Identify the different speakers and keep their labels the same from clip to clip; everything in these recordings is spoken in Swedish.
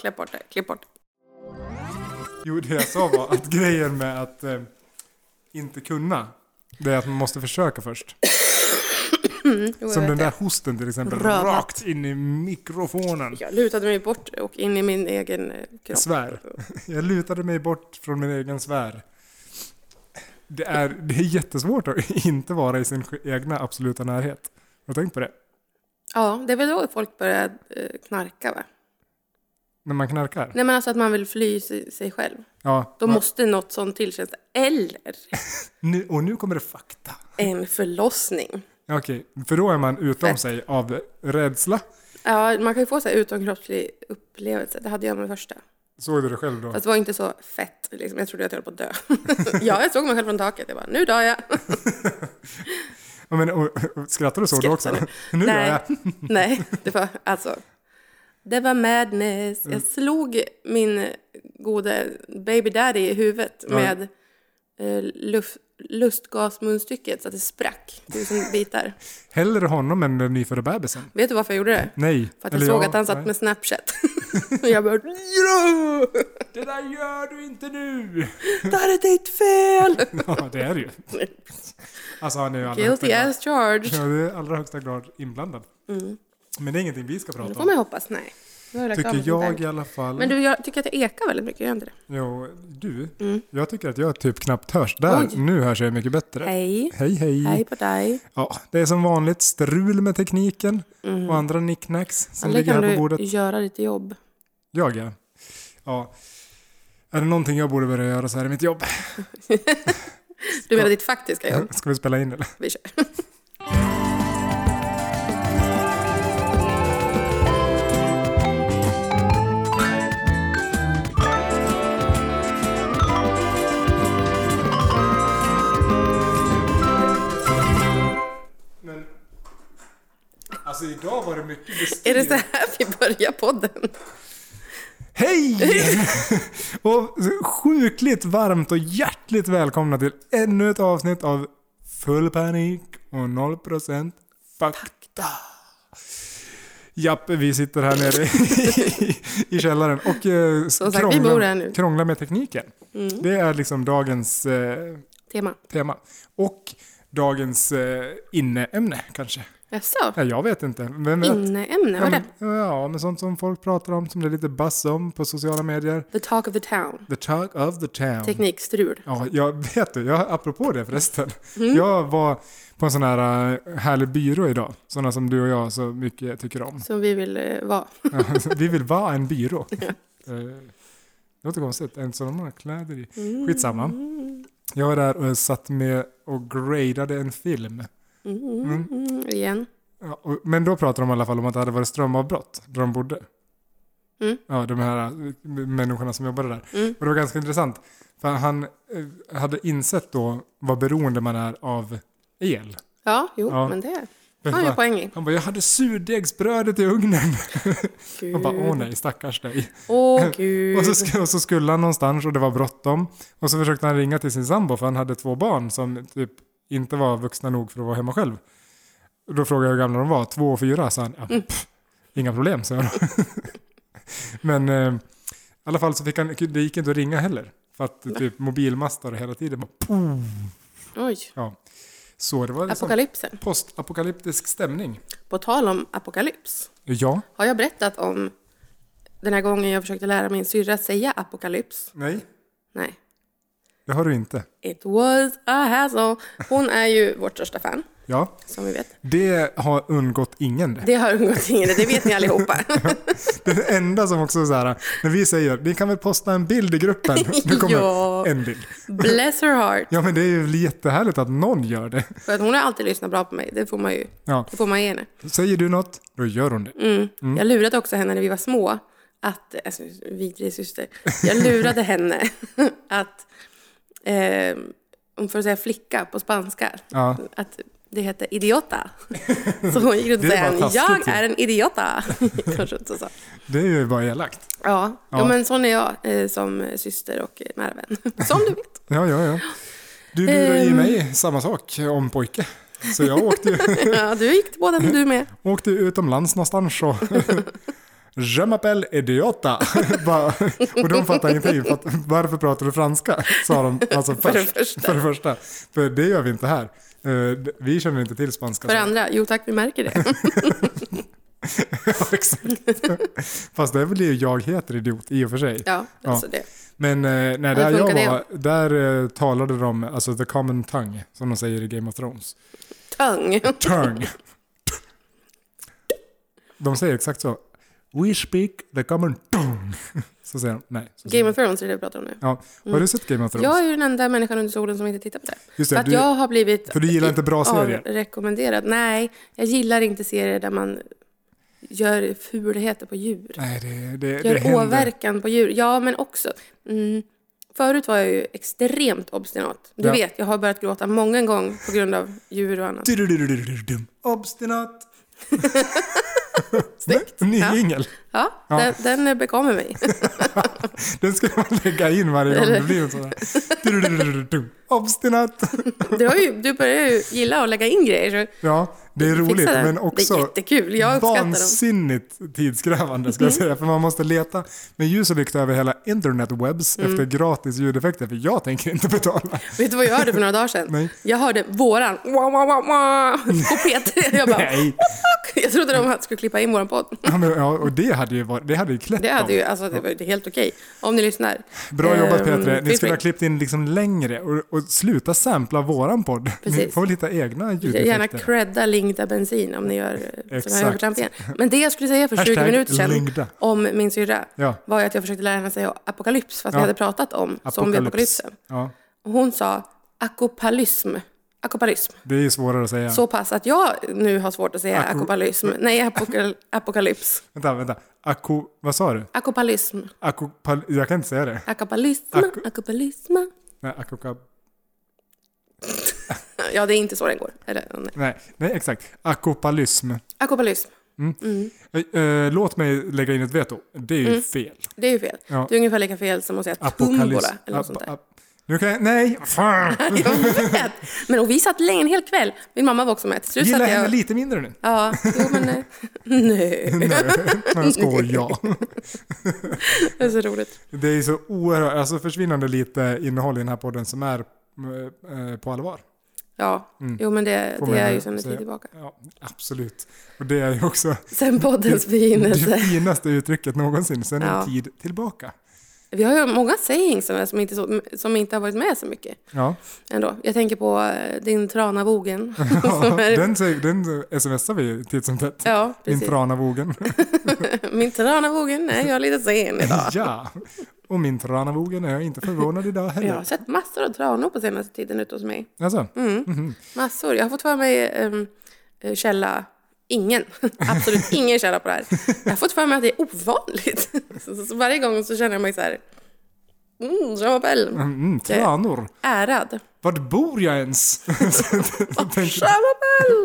Speaker 1: klipp bort det, klipp bort det.
Speaker 2: Jo, det jag sa var att grejen med att eh, inte kunna, det är att man måste försöka först.
Speaker 1: Jo, jag
Speaker 2: Som
Speaker 1: vet
Speaker 2: den
Speaker 1: det.
Speaker 2: där hosten till exempel,
Speaker 1: Rövat.
Speaker 2: rakt in i mikrofonen.
Speaker 1: Jag lutade mig bort och in i min egen eh, kropp.
Speaker 2: Svär. Jag lutade mig bort från min egen sfär. Det är, det är jättesvårt att inte vara i sin sk- egna absoluta närhet. Har du tänkt på det?
Speaker 1: Ja, det är väl då folk börjar eh, knarka va?
Speaker 2: När man knarkar?
Speaker 1: Nej men alltså att man vill fly si- sig själv.
Speaker 2: Ja.
Speaker 1: Då
Speaker 2: man-
Speaker 1: måste något sånt tillkännas. Eller
Speaker 2: nu, och nu kommer det fakta.
Speaker 1: en förlossning.
Speaker 2: Ja, Okej, för då är man utom
Speaker 1: Nej.
Speaker 2: sig av rädsla.
Speaker 1: Ja, man kan ju få så här utomkroppslig upplevelse. Det hade jag med första.
Speaker 2: Såg du det själv då?
Speaker 1: Fast det var inte så fett. Liksom. Jag trodde att jag höll på att dö. ja, jag såg mig själv från taket. Jag bara, nu dör jag.
Speaker 2: Ja, men, och, och, skrattar du så då också?
Speaker 1: Skrattar
Speaker 2: Nu gör
Speaker 1: Nej.
Speaker 2: jag.
Speaker 1: Nej, det var alltså. Det var madness.
Speaker 2: Mm.
Speaker 1: Jag slog min gode baby daddy i huvudet
Speaker 2: Ja.
Speaker 1: med eh, luf- lustgasmunstycket så att det sprack tusen bitar.
Speaker 2: Hellre honom än den nyfödda bebisen.
Speaker 1: Vet du varför jag gjorde det?
Speaker 2: Nej.
Speaker 1: För att jag
Speaker 2: Eller
Speaker 1: såg
Speaker 2: ja,
Speaker 1: att han satt
Speaker 2: nej.
Speaker 1: med Snapchat. Och jag bara ja!
Speaker 2: Det där gör du inte nu!
Speaker 1: Det här är ditt fel!
Speaker 2: Ja, det är det ju. Alltså han är ju i allra högsta
Speaker 1: Guilty
Speaker 2: grad,
Speaker 1: as charged.
Speaker 2: ja, det är i allra högsta grad inblandad. Men det är ingenting vi ska
Speaker 1: Det
Speaker 2: prata
Speaker 1: får
Speaker 2: om.
Speaker 1: man ju hoppas. Nej. Nu har jag lagt av
Speaker 2: Tycker
Speaker 1: med sånt
Speaker 2: jag
Speaker 1: där.
Speaker 2: i alla fall.
Speaker 1: Men du, jag tycker att jag ekar väldigt mycket, gör jag inte det?
Speaker 2: Jo, du. Jag tycker att jag typ knappt hörs. Där,
Speaker 1: Mm. Oj.
Speaker 2: nu hörs jag mycket bättre.
Speaker 1: Hej.
Speaker 2: Hej, hej.
Speaker 1: Hej på dig.
Speaker 2: Ja, det är som vanligt strul med tekniken
Speaker 1: Mm.
Speaker 2: och andra nicknacks som
Speaker 1: Aldrig
Speaker 2: ligger
Speaker 1: kan
Speaker 2: här
Speaker 1: du
Speaker 2: på bordet.
Speaker 1: göra ditt jobb.
Speaker 2: Jag ja. ja. Är det någonting jag borde börja göra så här i mitt jobb?
Speaker 1: Du menar ditt faktiska jobb?
Speaker 2: Ska vi spela in eller?
Speaker 1: Vi kör.
Speaker 2: Men, alltså idag var det mycket bestyr.
Speaker 1: Är det så här vi börjar podden?
Speaker 2: Hej! och sjukligt varmt och hjärtligt välkomna till ännu ett avsnitt av Full panik och 0% fakta. Japp, vi sitter här nere i, i källaren och eh,
Speaker 1: Som sagt, vi bor här nu. Mm.
Speaker 2: krånglar med tekniken. Det är liksom dagens eh,
Speaker 1: Tema.
Speaker 2: tema. Och dagens eh, inneämne kanske.
Speaker 1: Jaså?
Speaker 2: Ja, jag vet inte. Vem vet?
Speaker 1: Inneämne, vad
Speaker 2: Ja,
Speaker 1: är det?
Speaker 2: men, ja, men sånt som folk pratar om, som det är lite buzz om på sociala medier.
Speaker 1: The talk of the town.
Speaker 2: The talk of the town.
Speaker 1: Teknikstrul.
Speaker 2: Ja, jag vet du, jag, apropå det förresten. Jag var på en sån här äh, härlig byrå idag. Såna som du och jag så mycket tycker om.
Speaker 1: Som vi vill eh, vara.
Speaker 2: Ja, Vi vill vara en byrå. Eh, Det låter konstigt, en sån har kläder i.
Speaker 1: Mm.
Speaker 2: Skitsamma. Jag var där och satt med och gradade en film.
Speaker 1: Mm, mm, igen.
Speaker 2: Ja, och, men då pratar de i alla fall om att det hade varit strömavbrott där de bodde.
Speaker 1: Mm.
Speaker 2: Ja, de här eh, människorna som jobbade där.
Speaker 1: Mm.
Speaker 2: Och det var ganska intressant. För han eh, hade insett då vad beroende man är av el.
Speaker 1: Ja, jo,
Speaker 2: Ja.
Speaker 1: men det
Speaker 2: Men
Speaker 1: har jag
Speaker 2: bara-
Speaker 1: poäng i.
Speaker 2: han bara, jag hade surdegsbrödet i ugnen.
Speaker 1: Gud.
Speaker 2: Och bara, åh nej, stackars dig.
Speaker 1: Åh, gud.
Speaker 2: Och så, sk- och så skulle han någonstans och det var bråttom. Och så försökte han ringa till sin sambo för han hade två barn som typ inte var vuxna nog för att vara hemma själv. Och Då frågade jag hur gamla de var, två och fyra, sa han. Ja, pff, inga problem, sa jag då. Men eh, i alla fall så fick han, det gick inte att ringa heller. För att typ mobilmastar hela tiden bara, poof.
Speaker 1: Oj.
Speaker 2: ja. Så det var liksom
Speaker 1: Apokalypsen.
Speaker 2: postapokalyptisk stämning.
Speaker 1: På tal om apokalyps.
Speaker 2: Ja.
Speaker 1: Har jag berättat om den här gången jag försökte lära min syrra säga apokalyps?
Speaker 2: Nej.
Speaker 1: Nej.
Speaker 2: Det har du inte.
Speaker 1: It was a hassle. Hon är ju vårt största fan,
Speaker 2: Ja.
Speaker 1: som vi vet.
Speaker 2: Det har undgått ingen det.
Speaker 1: Det har undgått ingen, det vet ni allihopa.
Speaker 2: Det enda som också är så här, när vi säger ni kan väl posta en bild i gruppen. Nu kommer
Speaker 1: Ja.
Speaker 2: en bild.
Speaker 1: Bless her heart.
Speaker 2: Ja men det är ju jättehärligt att någon gör det.
Speaker 1: För att hon har alltid lyssnat bra på mig, det får man ju
Speaker 2: Ja.
Speaker 1: det får man ge henne.
Speaker 2: Säger du något, då gör hon det.
Speaker 1: Mm.
Speaker 2: Mm.
Speaker 1: Jag lurade också henne när vi var små, att, alltså vidrig syster, jag lurade henne att, eh, om får säga flicka på spanska,
Speaker 2: Ja.
Speaker 1: att det heter idiota. Så hon gick runt och
Speaker 2: Det är
Speaker 1: sa,
Speaker 2: bara taskigt
Speaker 1: jag
Speaker 2: ju."
Speaker 1: är en idiota. Kanske inte så.
Speaker 2: Det är ju bara elakt.
Speaker 1: Ja, ja.
Speaker 2: Ja.
Speaker 1: men sån är jag eh, som syster och eh, nära vän. Som du vet.
Speaker 2: Ja, ja, ja. Du lurade ju
Speaker 1: Ehm.
Speaker 2: mig samma sak om pojke. Så jag åkte, ju-
Speaker 1: Ja, du gick till båda, du med.
Speaker 2: åkte ju utomlands någonstans och Je m'appelle idiota. Bara- och de fattar ingenting. För att, varför pratar du franska? Sa de alltså
Speaker 1: För det
Speaker 2: först.
Speaker 1: första.
Speaker 2: För det första. För det gör vi inte här. Eh, d- Vi känner inte till spanska.
Speaker 1: För
Speaker 2: så-
Speaker 1: det andra, jo tack, vi märker det.
Speaker 2: Ja, exakt. Fast det är väl det jag heter, idiot, i och för sig.
Speaker 1: Ja,
Speaker 2: Ja.
Speaker 1: alltså det.
Speaker 2: Men eh, nej, där
Speaker 1: det
Speaker 2: jag
Speaker 1: funkar det.
Speaker 2: var, där eh, talade de, alltså the common tongue, som de säger i Game of Thrones.
Speaker 1: Tung.
Speaker 2: Tongue. De säger exakt så. We speak the common tongue. Så säger de, nej. Så säger
Speaker 1: Game of Thrones är det vi pratar om nu.
Speaker 2: de. ja. Har du sett Game of Thrones?
Speaker 1: Jag är ju den enda människan under solen som inte tittar på det.
Speaker 2: Just
Speaker 1: För
Speaker 2: det,
Speaker 1: att
Speaker 2: du,
Speaker 1: jag har blivit
Speaker 2: för du gillar inte bra serier.
Speaker 1: rekommenderad. Nej, jag gillar inte serier där man gör fulheter på djur.
Speaker 2: Nej, det, det, det
Speaker 1: Gör
Speaker 2: händer.
Speaker 1: åverkan på djur. Ja, men också. Mm. Förut var jag ju extremt obstinat. Du
Speaker 2: Ja.
Speaker 1: vet, jag har börjat gråta många gånger på grund av djur och annat.
Speaker 2: Du-du-du-du-du-du-dum. Obstinat. Snyggt. Ny
Speaker 1: Ja.
Speaker 2: jingel.
Speaker 1: Ja,
Speaker 2: Ja.
Speaker 1: Den, den eh, bekommer mig.
Speaker 2: Den ska man lägga in varje gång det blir en sån här. Du-du-du-du-du-du. Obstinat.
Speaker 1: Du, har ju, du börjar ju gilla att lägga in grejer. Så
Speaker 2: Ja, det är roligt
Speaker 1: fixa det.
Speaker 2: men
Speaker 1: Det är
Speaker 2: också
Speaker 1: jättekul. Jag uppskattar dem. Mm.
Speaker 2: vansinnigt tidskrävande ska jag säga. För man måste leta med ljus och lykta över hela internetwebs
Speaker 1: Mm.
Speaker 2: efter gratis ljudeffekter. För jag tänker inte betala.
Speaker 1: Vet du vad jag hörde för några dagar sedan?
Speaker 2: Nej.
Speaker 1: Jag hörde våran wah, wah, wah, wah, på P3. Jag, bara,
Speaker 2: Nej.
Speaker 1: jag trodde de skulle klippa in våran podd.
Speaker 2: Ja, men, ja, och det hade ju, varit, det hade ju klätt
Speaker 1: Det hade
Speaker 2: dem.
Speaker 1: ju, alltså det var ju helt okej. Om ni lyssnar.
Speaker 2: Bra jobbat
Speaker 1: Ehm,
Speaker 2: Petre. Ni
Speaker 1: feel
Speaker 2: skulle ha
Speaker 1: free.
Speaker 2: klippt in liksom längre och, och sluta sampla våran podd. Ni
Speaker 1: Precis.
Speaker 2: får väl hitta egna
Speaker 1: Gärna
Speaker 2: ljudeffekter.
Speaker 1: credda Lingda bensin om ni gör eh, sådana
Speaker 2: Exakt.
Speaker 1: här övertramp igen. Men det jag skulle säga för 20
Speaker 2: Hashtag
Speaker 1: minuter sedan
Speaker 2: Lingda.
Speaker 1: om min syrra
Speaker 2: Ja.
Speaker 1: var ju att jag försökte lära henne säga apokalyps för att
Speaker 2: Ja.
Speaker 1: vi hade pratat om zombieapokalypsen.
Speaker 2: Ja,
Speaker 1: Och hon sa akopalysm. Akopalysm.
Speaker 2: det är ju svårare att säga.
Speaker 1: Så pass att jag nu har svårt att säga
Speaker 2: Ako-
Speaker 1: akopalysm. Nej, apokal- apokalyps.
Speaker 2: Vänta, vänta. Ako, vad sa du?
Speaker 1: Akopalism.
Speaker 2: Ako, pal, jag kan inte säga det.
Speaker 1: Akopalism.
Speaker 2: Ako-
Speaker 1: Akopalism.
Speaker 2: Nej, akoka,
Speaker 1: Ja, det är inte så den går. Eller, nej.
Speaker 2: nej, nej, exakt. Akopalism.
Speaker 1: Akopalism.
Speaker 2: Eh, eh, låt mig lägga in ett veto. Det är ju fel.
Speaker 1: Det är ju fel.
Speaker 2: Ja.
Speaker 1: Det är ungefär lika fel som att säga
Speaker 2: Apokalyps.
Speaker 1: tumbola Mm. eller något sånt
Speaker 2: Ap-
Speaker 1: där.
Speaker 2: ap- nu kan jag, nej, fan!
Speaker 1: Jag vet. Men och vi satt länge, en hel kväll. Min mamma var också med. Till slut
Speaker 2: Gillar
Speaker 1: satt
Speaker 2: henne
Speaker 1: jag...
Speaker 2: lite mindre nu.
Speaker 1: Ja, jo men eh, nej.
Speaker 2: Nej, men jag skojar.
Speaker 1: Det är så roligt.
Speaker 2: Det är så oerhört, alltså försvinnande lite innehåll i den här podden som är eh, på allvar.
Speaker 1: Ja, jo men det,
Speaker 2: Mm. Får
Speaker 1: det
Speaker 2: man
Speaker 1: är
Speaker 2: ju
Speaker 1: ju sedan en
Speaker 2: säga.
Speaker 1: tid tillbaka.
Speaker 2: Ja, absolut. Och det är ju också
Speaker 1: Sen poddens
Speaker 2: det
Speaker 1: begynnelse.
Speaker 2: finaste uttrycket någonsin sen
Speaker 1: Ja.
Speaker 2: en tid tillbaka.
Speaker 1: Vi har ju många sayings som, som, inte, så, som inte har varit med så mycket
Speaker 2: Ja,
Speaker 1: ändå. Jag tänker på eh, din tranavogen.
Speaker 2: ja
Speaker 1: Som är-
Speaker 2: den, säger- den smsar vi titt som tätt.
Speaker 1: ja,
Speaker 2: Min
Speaker 1: precis.
Speaker 2: tranavogen.
Speaker 1: Min tranavogen, nej jag är lite sen idag.
Speaker 2: Ja, och min tranavogen är jag inte förvånad idag heller.
Speaker 1: Jag har sett massor av tranor på senaste tiden ute hos mig.
Speaker 2: Alltså,
Speaker 1: Mm, Massor. Jag har fått för mig ehm, eh, källa Ingen. Absolut ingen källa på det här. Jag har fått för mig att det är ovanligt. Så, så, så varje gång så känner jag mig så här... Mm, Jean Mabel.
Speaker 2: mm, tranor.
Speaker 1: Ärad.
Speaker 2: Vart bor jag ens? Tänk,
Speaker 1: Jean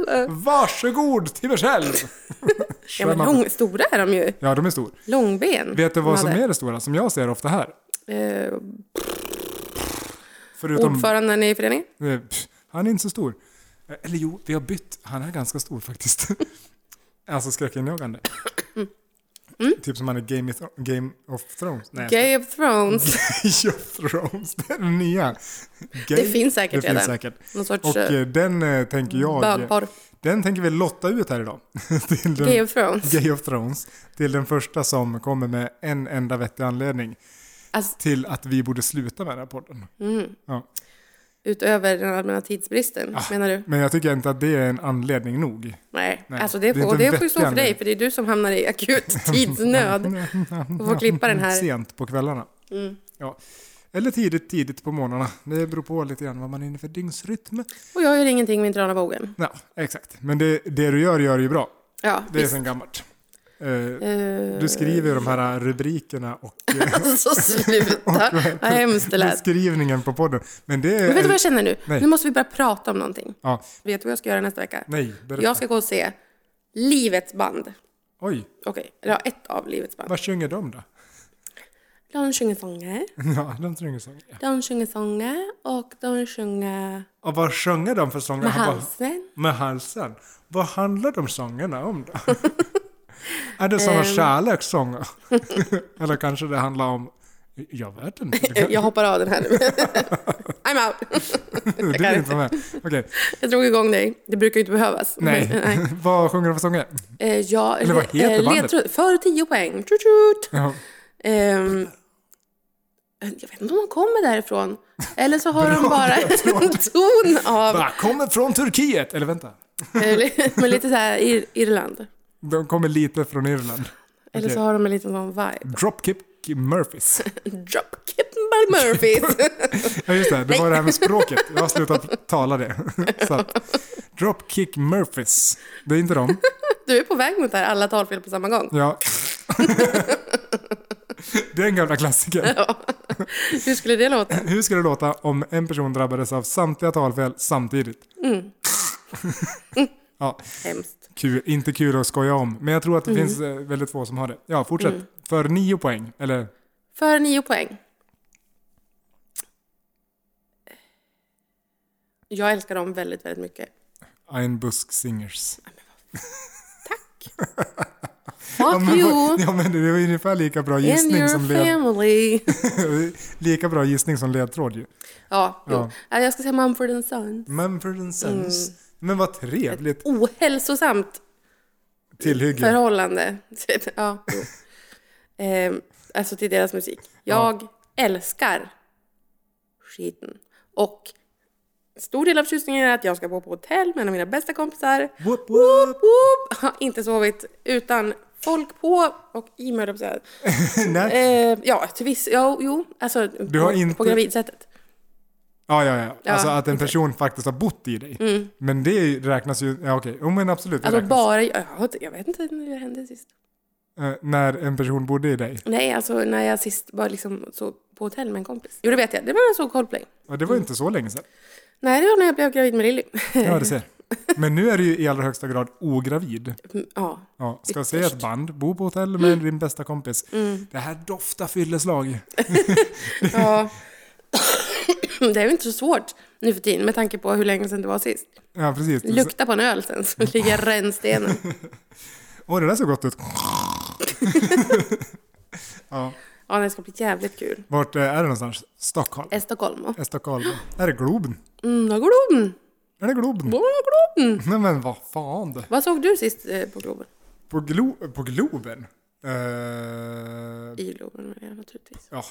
Speaker 1: Mabel!
Speaker 2: Varsågod till mig själv!
Speaker 1: Ja, men lång, stora är de ju.
Speaker 2: Ja, de är stor.
Speaker 1: Långben.
Speaker 2: Vet du vad
Speaker 1: De
Speaker 2: som
Speaker 1: hade.
Speaker 2: är det stora, som jag ser ofta här?
Speaker 1: Eh,
Speaker 2: Förutom...
Speaker 1: ordföranden i föreningen.
Speaker 2: Eh, pff, Han är inte så stor. Eh, Eller jo, vi har bytt. Han är ganska stor faktiskt. alltså skräckinjagande. Typ som han är Game of, Game of Thrones. Nej,
Speaker 1: Mm. Game of Thrones.
Speaker 2: Game of Thrones. Det är den nya. Game-
Speaker 1: Det finns säkert
Speaker 2: det finns
Speaker 1: redan.
Speaker 2: säkert.
Speaker 1: Någon sorts
Speaker 2: Och
Speaker 1: eh,
Speaker 2: eh, den eh, tänker jag...
Speaker 1: bögporr.
Speaker 2: Den tänker vi lotta ut här idag. till den,
Speaker 1: Game of Thrones.
Speaker 2: Game of Thrones. Till den första som kommer med en enda vettig anledning.
Speaker 1: Alltså- mm.
Speaker 2: till att vi borde sluta med den här podden. Ja. Ah.
Speaker 1: Utöver den allmänna tidsbristen, menar du?
Speaker 2: Men jag tycker inte att det är en anledning nog.
Speaker 1: Nej,
Speaker 2: Nej,
Speaker 1: alltså det,
Speaker 2: det är
Speaker 1: får,
Speaker 2: inte en
Speaker 1: det får ju stå för
Speaker 2: vettig
Speaker 1: dig, för det är du som hamnar i akut tidsnöd Mm. och får klippa den här.
Speaker 2: Sent på kvällarna. Ja. Eller tidigt, tidigt på morgnarna. Det beror på lite grann vad man är inne för dygnsrytm.
Speaker 1: Och jag gör ingenting med inte Rana Bogen.
Speaker 2: Ja, exakt. Men det, det du gör, gör du ju bra.
Speaker 1: Ja,
Speaker 2: Det är
Speaker 1: visst.
Speaker 2: sen gammalt. Eh,
Speaker 1: Eh,
Speaker 2: Du skriver de här rubrikerna och eh,
Speaker 1: Alltså sluta, vad hemskt det lät.
Speaker 2: beskrivningen på podden. Men det
Speaker 1: Men vet du vad
Speaker 2: är...
Speaker 1: jag känner nu?
Speaker 2: Nej.
Speaker 1: Nu måste vi börja prata om någonting.
Speaker 2: Ja,
Speaker 1: Vet du vad jag ska göra nästa vecka?
Speaker 2: nej, berätta.
Speaker 1: Jag ska gå och se Livets band.
Speaker 2: Oj,
Speaker 1: Okej, eller ja, ett av Livets band.
Speaker 2: vad sjunger de då?
Speaker 1: De sjunger sånger,
Speaker 2: Ja, de sjunger sånger.
Speaker 1: de sjunger sånger och de sjunger
Speaker 2: Och vad sjunger de för sånger?
Speaker 1: med
Speaker 2: Han bara-
Speaker 1: halsen.
Speaker 2: med halsen. Vad handlar de sångerna om då? Är det sådana
Speaker 1: Ehm.
Speaker 2: kärlekssånger? Eller kanske det handlar om... Jag vet inte. Du, kan,
Speaker 1: Jag hoppar av den här nu. I'm out.
Speaker 2: du
Speaker 1: kan
Speaker 2: är inte med. Okej.
Speaker 1: Jag drog igång dig. Det brukar ju inte behövas. Men,
Speaker 2: Nej. Vad sjunger du för sånger?
Speaker 1: Eh, ja,
Speaker 2: Eller vad heter
Speaker 1: eh,
Speaker 2: bandet?
Speaker 1: ledtråd- För 10 poäng. Tjut, tjut.
Speaker 2: Ja,
Speaker 1: Ehm, eh, jag vet inte om de kommer därifrån. Eller så har de bara en ton av...
Speaker 2: Bara, kommer från Turkiet! Eller vänta.
Speaker 1: eller- Men lite så här Ir- Irland.
Speaker 2: De kommer lite från Irland.
Speaker 1: Eller så
Speaker 2: Okej.
Speaker 1: har de en liten sån vibe.
Speaker 2: Dropkick Murphys.
Speaker 1: Dropkick by Murphys.
Speaker 2: Ja just det, det var det här med språket. Jag har slutat tala det. Så att, Dropkick Murphys. Det är inte dem.
Speaker 1: Du är på väg mot det här, alla talfel på samma gång.
Speaker 2: Ja. Det är en gamla klassiker.
Speaker 1: Hur skulle det låta?
Speaker 2: Hur skulle det låta om en person drabbades av samtliga talfel samtidigt? Ja,
Speaker 1: Hemskt.
Speaker 2: kul, inte kul att skoja om, men jag tror att det
Speaker 1: Mm.
Speaker 2: finns eh, väldigt få som har det. Ja, fortsätt. För nio poäng, eller
Speaker 1: För nio poäng. Jag älskar dem väldigt, väldigt mycket.
Speaker 2: Ein Busk Singers. Ja,
Speaker 1: Fuck
Speaker 2: men,
Speaker 1: you!
Speaker 2: ja, men det var ungefär lika bra
Speaker 1: In
Speaker 2: gissning som
Speaker 1: your
Speaker 2: led,
Speaker 1: family.
Speaker 2: lika bra gissning som ledtråd ju.
Speaker 1: Ja, jo.
Speaker 2: Ja.
Speaker 1: Nej, Jag ska säga Mumford and Sons.
Speaker 2: Mumford and Sons.
Speaker 1: Mm.
Speaker 2: Men vad trevligt
Speaker 1: Ohälsosamt
Speaker 2: tillhygge.
Speaker 1: förhållande. Ja, jo. Ehm, alltså till deras musik. Jag älskar skiten. Och en stor del av förtjusningen är att jag ska bo på hotell med en av mina bästa kompisar.
Speaker 2: Whoop, whoop.
Speaker 1: Woop! Har inte sovit utan folk på och i mig, höll jag på att säga.
Speaker 2: Nej.
Speaker 1: Ehm, Ja, till viss... Ja, jo, alltså du
Speaker 2: har
Speaker 1: på,
Speaker 2: inte-
Speaker 1: på gravidsättet.
Speaker 2: Ja, ja, ja.
Speaker 1: Ja, Mm.
Speaker 2: alltså att en person faktiskt har bott i dig. Men det är ju- räknas ju, ja okej, jo men absolut. det
Speaker 1: Alltså
Speaker 2: räknas.
Speaker 1: bara... Jag, har inte- jag vet inte när det hände sist.
Speaker 2: Eh, när en person bodde i dig.
Speaker 1: Nej, alltså när jag sist var liksom så på hotell med en kompis. Jo, det vet jag. Det var när jag såg Coldplay.
Speaker 2: Ja, det var ju inte så länge sedan.
Speaker 1: Nej, det var när jag blev gravid med Lilly.
Speaker 2: Ja, det ser. Men nu är du ju i allra högsta grad ogravid.
Speaker 1: ja.
Speaker 2: Ja, ska se ett band, bo på hotell med din bästa kompis. Det här doftar fylleslag.
Speaker 1: ja. Det är ju inte så svårt nu för tiden med tanke på hur länge sedan det var sist.
Speaker 2: Ja, precis.
Speaker 1: Lukta på en öl sen så ligger rännstenen.
Speaker 2: Åh, det där såg gott ut.
Speaker 1: Ja, det ska bli jävligt kul.
Speaker 2: Vart eh, är det någonstans? Stockholm?
Speaker 1: Är Stockholm va?
Speaker 2: Är Stockholm? Är det Globen?
Speaker 1: Mm, då går de.
Speaker 2: Är det Globen?
Speaker 1: Då går de.
Speaker 2: Nej men vad fan det.
Speaker 1: Vad såg du sist eh, på Globen?
Speaker 2: På, glo- på Globen? Eh,
Speaker 1: I Globen menar jag naturligtvis.
Speaker 2: ja,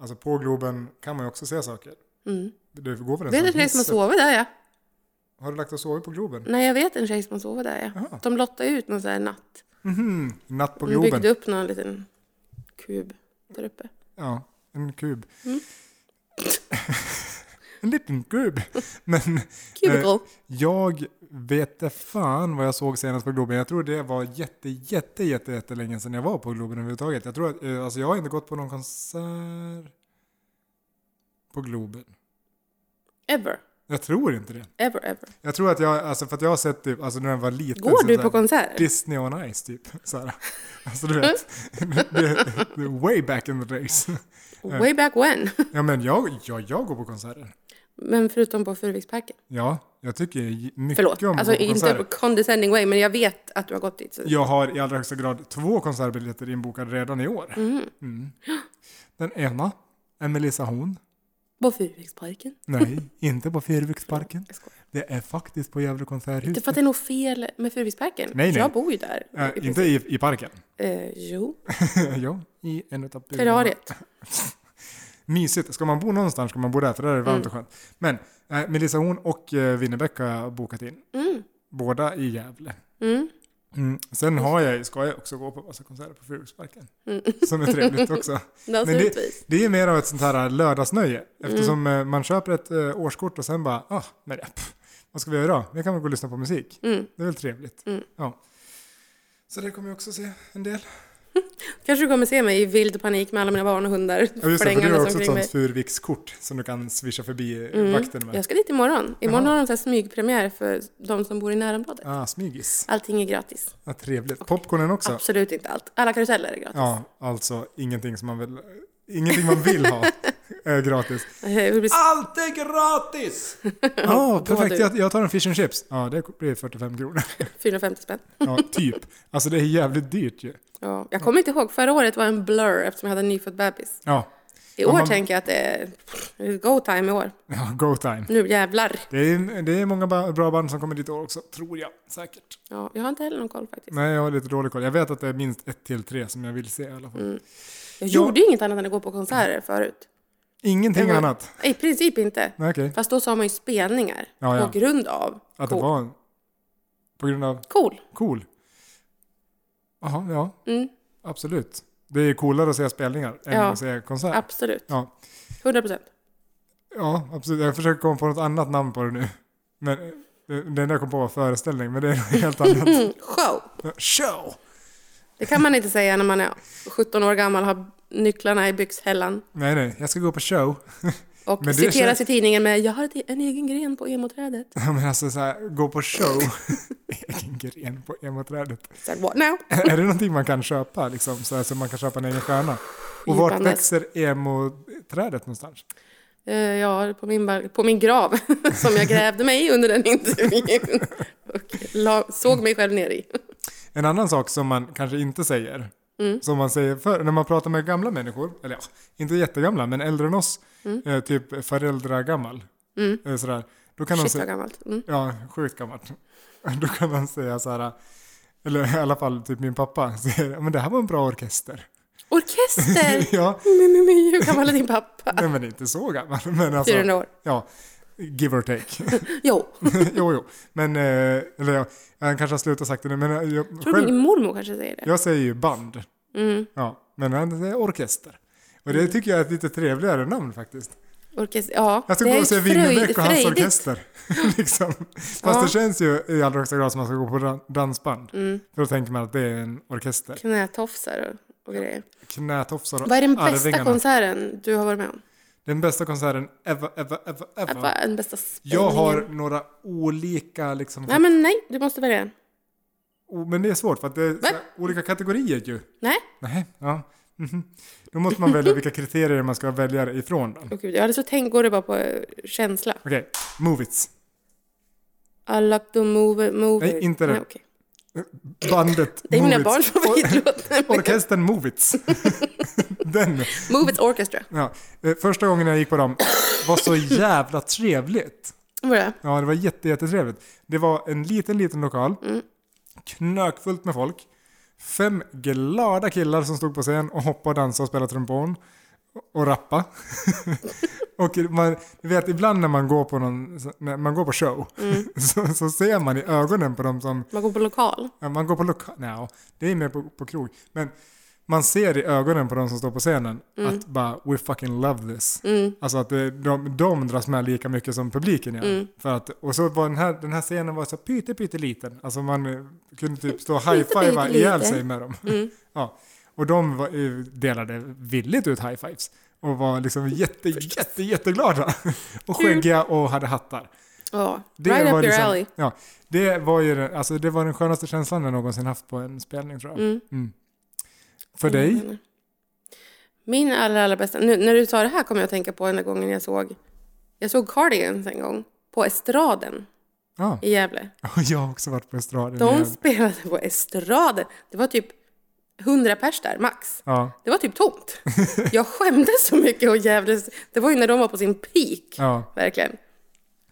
Speaker 2: alltså på Globen kan man ju också se saker.
Speaker 1: Mm.
Speaker 2: Det går väl en
Speaker 1: Vet du en tjej
Speaker 2: sån
Speaker 1: som har
Speaker 2: hiss-
Speaker 1: sovit där ja?
Speaker 2: Har du lagt dig och sovit på Globen?
Speaker 1: Nej, jag vet en tjej som har sovit där ja.
Speaker 2: Jaha.
Speaker 1: De lottade ut någon sån här natt.
Speaker 2: Mhm, Natt på
Speaker 1: De byggde
Speaker 2: Globen.
Speaker 1: upp någon liten kub där uppe.
Speaker 2: Ja, en kub.
Speaker 1: Mm.
Speaker 2: en liten kub. Men
Speaker 1: Cubicle.
Speaker 2: Eh. jag vet inte fan vad jag såg senast på Globen. Jag tror det var jätte, jätte, jätte, jätte länge sedan jag var på Globen överhuvudtaget. Jag tror att, eh, alltså jag har inte gått på någon konsert på Globen.
Speaker 1: Ever.
Speaker 2: Jag tror inte det.
Speaker 1: Ever, ever.
Speaker 2: Jag tror att jag, alltså för att jag har sett typ, alltså när jag var liten.
Speaker 1: Går
Speaker 2: så
Speaker 1: du
Speaker 2: så
Speaker 1: på
Speaker 2: här,
Speaker 1: konserter?
Speaker 2: Disney on Ice typ. Så här. Alltså du vet,
Speaker 1: Mm.
Speaker 2: det, det, way back in the days. eh.
Speaker 1: Way back when.
Speaker 2: Ja men jag, jag, jag går på konserter.
Speaker 1: Men förutom på Furuviksparken.
Speaker 2: Ja, jag tycker j- mycket
Speaker 1: Förlåt.
Speaker 2: om
Speaker 1: Alltså
Speaker 2: att gå på
Speaker 1: inte
Speaker 2: konserter.
Speaker 1: på condescending way, men jag vet att du har gått dit. Så.
Speaker 2: Jag har i allra högsta grad två konsertbiljetter inbokade redan i år.
Speaker 1: Mhm.
Speaker 2: Mm. Den ena är Melissa Horn.
Speaker 1: På Furuviksparken.
Speaker 2: Nej, inte på Fyrviksparken.
Speaker 1: Jag skojar.
Speaker 2: Det är faktiskt på Gävle
Speaker 1: Det är
Speaker 2: konserthus. Äh,
Speaker 1: för att det är nog fel med Furuviksparken.
Speaker 2: Nej, nej.
Speaker 1: Jag bor ju där.
Speaker 2: Äh,
Speaker 1: i
Speaker 2: inte
Speaker 1: princip.
Speaker 2: i, i parken.
Speaker 1: Eh, jo.
Speaker 2: ja, i en utav byggnaderna.
Speaker 1: Terrariet.
Speaker 2: Mysigt. Ska man bo någonstans ska man bo där, för där är det
Speaker 1: Mm.
Speaker 2: varmt och skönt. Men eh, Melissa Horn och eh, Winnerbäck har jag bokat in.
Speaker 1: Mm.
Speaker 2: Båda i Gävle.
Speaker 1: Mm.
Speaker 2: Mm. Sen har jag, ska jag också gå på massa konserter på Fyrviksparken.
Speaker 1: Mm.
Speaker 2: Som är trevligt också.
Speaker 1: Naturligtvis.
Speaker 2: det, det är mer av ett sånt här
Speaker 1: Mm.
Speaker 2: lördagsnöje. Eftersom eh, man köper ett eh, årskort och sen bara, ah, men ja, pff, vad ska vi göra idag? Vi kan väl gå och lyssna på musik.
Speaker 1: Mm.
Speaker 2: Det är väl trevligt.
Speaker 1: Mm.
Speaker 2: Ja. Så det kommer jag också se en del.
Speaker 1: Kanske du kommer se mig i vild panik med alla mina barn och hundar
Speaker 2: Ja, just det, för du har
Speaker 1: flängandes
Speaker 2: också ett
Speaker 1: omkring mig.
Speaker 2: sånt Furvikskort som du kan swisha förbi eh,
Speaker 1: Mm.
Speaker 2: vakten med.
Speaker 1: Jag ska dit imorgon. Imorgon
Speaker 2: Jaha.
Speaker 1: har de så här smygpremiär för de som bor i närområdet.
Speaker 2: Ah, smygis.
Speaker 1: Allting är gratis.
Speaker 2: Vad trevligt. Popcornen också?
Speaker 1: Absolut inte allt. Alla karuseller är gratis.
Speaker 2: Ja, Ah! alltså ingenting som man vill, ingenting man vill ha. eh, gratis.
Speaker 1: Det blir
Speaker 3: Allt är gratis!
Speaker 2: Ja,
Speaker 1: då
Speaker 2: Ah, perfekt.
Speaker 1: du.
Speaker 2: Jag, jag tar en fish and chips. Ja, det blir 45 kronor.
Speaker 1: 450 spänn.
Speaker 2: Ja, typ. Alltså det är jävligt dyrt ju.
Speaker 1: Ja, jag kommer inte ihåg, förra året var en blur eftersom jag hade en nyfödd bebis.
Speaker 2: Ja,
Speaker 1: I
Speaker 2: Ja,
Speaker 1: år
Speaker 2: man-
Speaker 1: tänker jag att det är det är go time i år.
Speaker 2: ja go time.
Speaker 1: Nu jävlar.
Speaker 2: Det är, det är många ba- bra band som kommer dit i år också, tror jag. Säkert.
Speaker 1: Ja, jag har inte heller någon koll faktiskt.
Speaker 2: Nej, jag har lite dålig koll. Jag vet att det är minst ett till tre som jag vill se i alla fall.
Speaker 1: Jag
Speaker 2: Ja.
Speaker 1: gjorde ju inget annat än att gå på konserter förut.
Speaker 2: Ingenting
Speaker 1: Det var-
Speaker 2: annat.
Speaker 1: Nej, I princip inte.
Speaker 2: Nej, okej.
Speaker 1: Fast då sa man ju spelningar
Speaker 2: Ja, ja.
Speaker 1: på grund av
Speaker 2: Att det
Speaker 1: cool.
Speaker 2: var en... På grund av
Speaker 1: cool.
Speaker 2: cool. Jaha, ja.
Speaker 1: Mm,
Speaker 2: Absolut. Det är coolare att se spelningar än
Speaker 1: Ja.
Speaker 2: att se konsert.
Speaker 1: absolut.
Speaker 2: Ja.
Speaker 1: 100 procent.
Speaker 2: Ja, absolut. Jag försöker komma på något annat namn på det nu. Men eh, det, det enda jag kom på var föreställning, men det är något helt annat.
Speaker 1: Mm, show.
Speaker 2: Show!
Speaker 1: Det kan man inte säga när man är 17 år gammal och har nycklarna i byxhällan.
Speaker 2: Nej, nej. Jag ska gå på show.
Speaker 1: Och
Speaker 2: Men det
Speaker 1: citeras
Speaker 2: känns-
Speaker 1: i tidningen med “Jag har ett- e-, en egen gren på emoträdet”.
Speaker 2: Ja, men alltså så här, gå på show. Egen gren på emoträdet.
Speaker 1: Så här, What now?
Speaker 2: är det någonting man kan köpa liksom? Så, här, så man kan köpa en egen stjärna? Och vart
Speaker 1: Djupandes.
Speaker 2: växer emoträdet någonstans?
Speaker 1: Eh, ja, på min, bar- på min grav som jag grävde mig i under den intervjun. Och la, såg mig själv ner i.
Speaker 2: En annan sak som man kanske inte säger, som man säger för, när man pratar med gamla människor, eller ja, inte jättegamla, men äldre än oss, eh, typ föräldragammal, eh, sådär, då kan
Speaker 1: Shit
Speaker 2: de
Speaker 1: vad
Speaker 2: säga,
Speaker 1: gammalt. Mm.
Speaker 2: ja, sjukt gammalt, då kan man säga så här, eller i alla fall typ min pappa, säger, "Ja, men det här var en bra orkester.
Speaker 1: Orkester!
Speaker 2: ja,
Speaker 1: Men, men, men, hur gammal är din pappa?
Speaker 2: nej, men inte så gammal, men alltså,
Speaker 1: 400 år.
Speaker 2: ja, give or take.
Speaker 1: Jo,
Speaker 2: jo, jo, men, eh, eller ja, han kanske har slutat sagt det nu, men eh, jag,
Speaker 1: tror du Mm. min mormor kanske säger det?
Speaker 2: Jag säger ju band. Ja, men han säger orkester. Och det tycker jag är ett lite trevligare namn faktiskt.
Speaker 1: Orkester, ja.
Speaker 2: Jag ska
Speaker 1: det
Speaker 2: gå
Speaker 1: är
Speaker 2: och se
Speaker 1: fröjd-
Speaker 2: Winnerbäck och hans
Speaker 1: fröjdigt.
Speaker 2: orkester. liksom. Fast
Speaker 1: Ja. Mm.
Speaker 2: det känns ju i allra högsta grad som att man ska gå på dan- dansband. För då tänker man att det är en orkester.
Speaker 1: Knätofsar och, och grejer.
Speaker 2: Knätofsar och
Speaker 1: Vad är den bästa
Speaker 2: Arvingarna.
Speaker 1: konserten du har varit med om?
Speaker 2: Den bästa konserten ever, ever, ever, ever.
Speaker 1: Att vara den bästa spelningen?
Speaker 2: Jag har några olika liksom...
Speaker 1: Nej men nej, du måste välja en.
Speaker 2: oh, men det är svårt för att det är så här,
Speaker 1: Va?
Speaker 2: olika kategorier ju.
Speaker 1: Nej?
Speaker 2: Nej, ja. Mhm. Då måste man välja vilka kriterier man ska välja ifrån. Då.
Speaker 1: Åh gud, jag hade så tänkt, går det bara på eh, känsla?
Speaker 2: Okej, Movits.
Speaker 1: I like to move, it, move
Speaker 2: Nej,
Speaker 1: it.
Speaker 2: inte det.
Speaker 1: Nej, okej.
Speaker 2: Bandet
Speaker 1: Det är mina
Speaker 2: Movits.
Speaker 1: barns favoritlåt.
Speaker 2: Or- Orkestern Movits. Den.
Speaker 1: Move It's Orchestra.
Speaker 2: Ja. Eh, Första gången jag gick på dem var så jävla trevligt.
Speaker 1: Vad är det?
Speaker 2: Ja, det var jätte, jättetrevligt. Det var en liten, liten lokal. Knökfullt med folk. Fem glada killar som stod på scen och hoppade och dansade och spelade trumpon. Och rappa. och man, du vet, ibland när man går på, någon, när man går på show så, så ser man i ögonen på dem som
Speaker 1: Man går på lokal.
Speaker 2: Ja, Man går på lokal... Nej, det är mer på, på krog. Men man ser i ögonen på de som står på scenen att bara we fucking love this. Alltså att det, de, de dras med lika mycket som publiken gör. För att, och så var den här, den här scenen var så pytte pytteliten. Alltså man eh, kunde typ stå och high-fivea
Speaker 1: pytteliten.
Speaker 2: ihjäl sig med dem. ja. Och de var, eh, delade villigt ut high-fives. Och var liksom jätte, jätte, jätteglada. och skäggiga och hade hattar.
Speaker 1: Ja.
Speaker 2: Det
Speaker 1: Right up
Speaker 2: var
Speaker 1: your
Speaker 2: liksom,
Speaker 1: alley.
Speaker 2: Ja, det var ju den, alltså det var den skönaste känslan jag någonsin haft på en spelning tror jag.
Speaker 1: Mm.
Speaker 2: Mm. För dig?
Speaker 1: Min allra, allra bästa. Nu, när du sa det här kom jag att tänka på den gången jag såg... Jag såg Cardigans en gång. På Estraden
Speaker 2: Ja.
Speaker 1: i Gävle.
Speaker 2: Och jag har också varit på estraden.
Speaker 1: De
Speaker 2: igen.
Speaker 1: spelade på Estraden. Det var typ 100 pers där, max.
Speaker 2: Ja,
Speaker 1: Det var typ tomt. Jag skämdes så mycket och jävles. Det var ju när de var på sin peak.
Speaker 2: ja,
Speaker 1: Verkligen.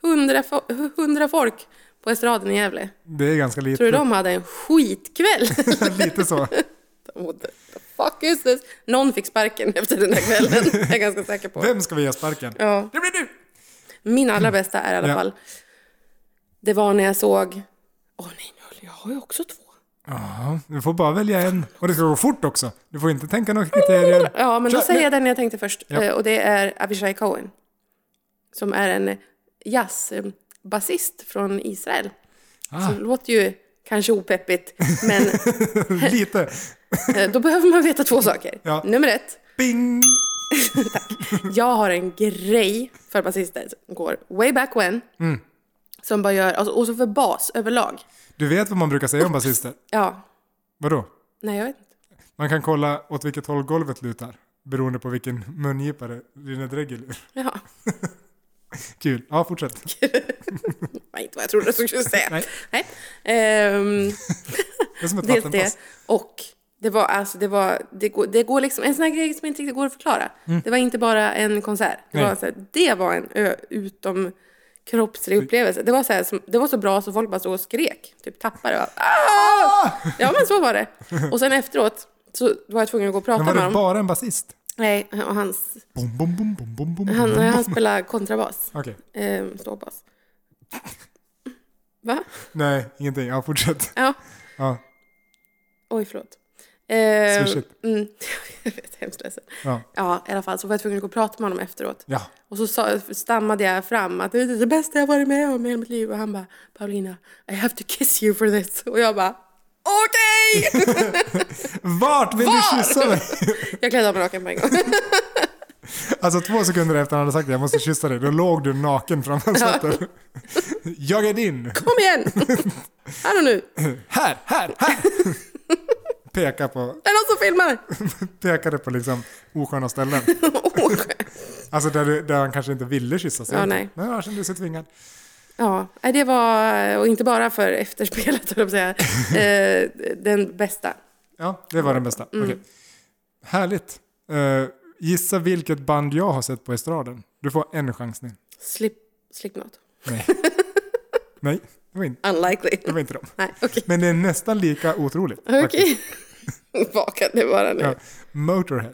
Speaker 1: 100, fo- 100 folk på Estraden i Gävle.
Speaker 2: det är ganska lite.
Speaker 1: Tror du de hade en skitkväll?
Speaker 2: lite så.
Speaker 1: What the fuck is this? Någon fick sparken efter den här kvällen, jag är ganska säker på.
Speaker 2: Vem ska vi ge sparken?
Speaker 1: Ja.
Speaker 2: Det blir du!
Speaker 1: Min allra bästa är i alla
Speaker 2: Ja.
Speaker 1: fall, det var när jag såg, åh nej, nu höll- jag har ju också två.
Speaker 2: Ja, du får bara välja en. Och det ska gå fort också. Du får inte tänka några kriterier.
Speaker 1: Ja, men då
Speaker 2: Kör,
Speaker 1: säger jag den jag tänkte först,
Speaker 2: Ja.
Speaker 1: eh, och det är Avishai Cohen. Som är en eh, jazzbasist från Israel.
Speaker 2: Ah.
Speaker 1: Så det låter ju kanske opeppigt, men
Speaker 2: Lite.
Speaker 1: eh, då behöver man veta två saker.
Speaker 2: Ja.
Speaker 1: Nummer ett,
Speaker 2: Bing!
Speaker 1: Jag har en grej för basister som går way back when.
Speaker 2: Mm.
Speaker 1: Som bara gör, alltså, och så för bas överlag.
Speaker 2: Du vet vad man brukar säga om basister?
Speaker 1: Ja,
Speaker 2: Vadå?
Speaker 1: nej jag vet inte.
Speaker 2: Man kan kolla åt vilket håll golvet lutar. Beroende på vilken mungipare dina dregel är.
Speaker 1: Jaha,
Speaker 2: Kul. Ja, fortsätt.
Speaker 1: nej, inte vad jag trodde du skulle säga.
Speaker 2: Nej.
Speaker 1: nej. Ehm,
Speaker 2: Det är som ett
Speaker 1: Dels det.
Speaker 2: vattenpass.
Speaker 1: Och det var alltså, det var, det går, det går liksom, en sån här grej som inte riktigt går att förklara. Det var inte bara en konsert. Det
Speaker 2: Mm. Nej.
Speaker 1: var, så här, det var en ö, utom kroppslig upplevelse. Det var, så här, som, det var så bra så folk bara stod och skrek. Typ tappade och bara, "Ah!" Ja men så var det. Och sen efteråt så var jag tvungen att gå och prata
Speaker 2: Men var
Speaker 1: med
Speaker 2: det
Speaker 1: honom.
Speaker 2: bara en basist?
Speaker 1: Nej, och hans,
Speaker 2: Bom, bom, bom, bom, bom, bom,
Speaker 1: han,
Speaker 2: bom.
Speaker 1: han spelar kontrabas.
Speaker 2: Okej.
Speaker 1: Eh, ståbas. Va?
Speaker 2: Nej, ingenting. Ja, fortsätt.
Speaker 1: Ja.
Speaker 2: Ja,
Speaker 1: Oj, förlåt. Eh,
Speaker 2: Swishigt.
Speaker 1: mm, jag vet, hemskt ledsen.
Speaker 2: ja,
Speaker 1: Ja, i alla fall så var jag tvungen att gå och prata med honom efteråt.
Speaker 2: ja.
Speaker 1: Och så sa, stammade jag fram att det är det bästa jag varit med om i hela mitt liv. Och han bara, Paulina, I have to kiss you for this. Och jag bara, okej!
Speaker 2: Vart vill
Speaker 1: Var?
Speaker 2: du kyssa mig?
Speaker 1: jag klädde av mig naken på en gång.
Speaker 2: Alltså två sekunder efter han hade sagt det, jag måste kyssa dig, då låg du naken framför sätet. Jag är din!
Speaker 1: Kom igen! Här och nu!
Speaker 2: Här, här, här! Peka på,
Speaker 1: Det är någon som filmar!
Speaker 2: pekade på liksom osköna ställen.
Speaker 1: Åh.
Speaker 2: Alltså där, du, där han kanske inte ville kyssa sig.
Speaker 1: Ja, nej.
Speaker 2: Men han kände sig tvingad.
Speaker 1: ja, nej, det var, och inte bara för efterspelet, höll jag på att säga, eh, den bästa.
Speaker 2: Ja, det var den bästa.
Speaker 1: Mm.
Speaker 2: Okej. Härligt. Eh, gissa vilket band jag har sett på estraden. Du får en chansning.
Speaker 1: Slip, Slipknot.
Speaker 2: Nej. nej, det var, inte, det
Speaker 1: Unlikely.
Speaker 2: var inte dem.
Speaker 1: Nej, okej.
Speaker 2: Men det är nästan lika otroligt. faktiskt.
Speaker 1: Okej. Vad kan det vara nu?
Speaker 2: Ja. Motorhead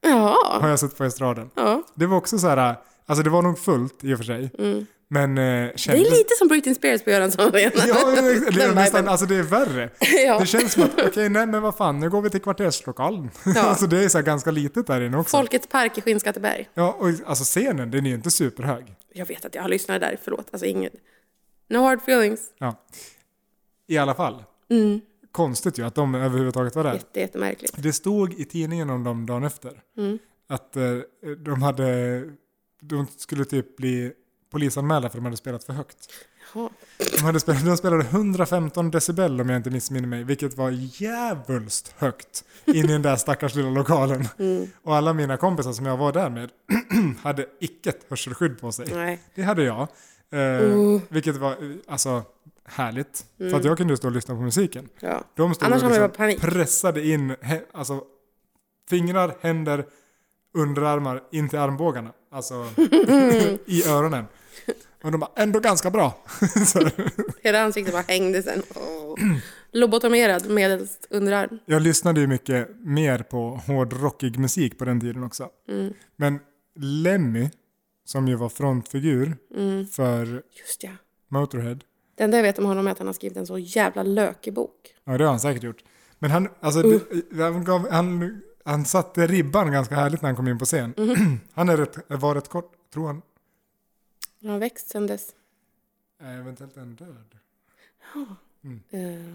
Speaker 1: Ja.
Speaker 2: har jag sett på estraden.
Speaker 1: ja.
Speaker 2: Det var också så här, alltså det var nog fullt i och för sig. Men eh,
Speaker 1: Mm. Det
Speaker 2: kändes...
Speaker 1: är lite som Britney Spears på Göransson Arena.
Speaker 2: Ja, det är
Speaker 1: Den
Speaker 2: nästan,
Speaker 1: viben.
Speaker 2: alltså det är värre.
Speaker 1: Ja.
Speaker 2: Det känns som att, okej nej men vad fan, nu går vi till kvarterslokalen.
Speaker 1: Ja.
Speaker 2: alltså det är så här ganska litet där inne också.
Speaker 1: Folkets park i Skinnskatteberg.
Speaker 2: Ja, och alltså scenen, den är ju inte superhög.
Speaker 1: Jag vet att jag har lyssnat där, förlåt. Alltså ingen... No hard feelings.
Speaker 2: Ja. I alla fall. Konstigt ju att de överhuvudtaget var där.
Speaker 1: Jätte, jättemärkligt.
Speaker 2: Det stod i tidningen om dem dagen efter. Att eh, de hade, de skulle typ bli polisanmälda för de hade spelat för högt.
Speaker 1: Jaha.
Speaker 2: De, hade spelat, de spelade 115 decibel om jag inte missminner mig, vilket var jävulst högt in i den där stackars lilla lokalen. Och alla mina kompisar som jag var där med hade icke ett hörselskydd på sig.
Speaker 1: Nej.
Speaker 2: Det hade jag. Eh,
Speaker 1: Mm.
Speaker 2: Vilket var eh, alltså, härligt. För att jag kunde stå och lyssna på musiken.
Speaker 1: Ja.
Speaker 2: De stod
Speaker 1: Mm. Annars
Speaker 2: och
Speaker 1: hade man
Speaker 2: liksom
Speaker 1: ju bara panik.
Speaker 2: pressade in hä- alltså, fingrar, händer, underarmar in till armbågarna. Alltså i öronen. Och de bara, ändå ganska bra. Så,
Speaker 1: Hela ansiktet bara hängde sen. Åh. Lobotomerad medelst underarm.
Speaker 2: jag lyssnade ju mycket mer på hårdrockig musik på den tiden också.
Speaker 1: Mm.
Speaker 2: Men Lemmy, som ju var frontfigur
Speaker 1: Mm.
Speaker 2: för
Speaker 1: Just ja.
Speaker 2: Motorhead,
Speaker 1: Det enda jag vet om honom är att han har skrivit en så jävla lökig bok.
Speaker 2: Ja, det har han säkert gjort. Men han, alltså,
Speaker 1: Mm.
Speaker 2: det- han, gav, han, han satte ribban ganska härligt när han kom in på scen.
Speaker 1: Mm-hmm.
Speaker 2: han är rätt, var rätt kort, tror han.
Speaker 1: Han har växt sen dess.
Speaker 2: Eh, Eventuellt är han död.
Speaker 1: Uh...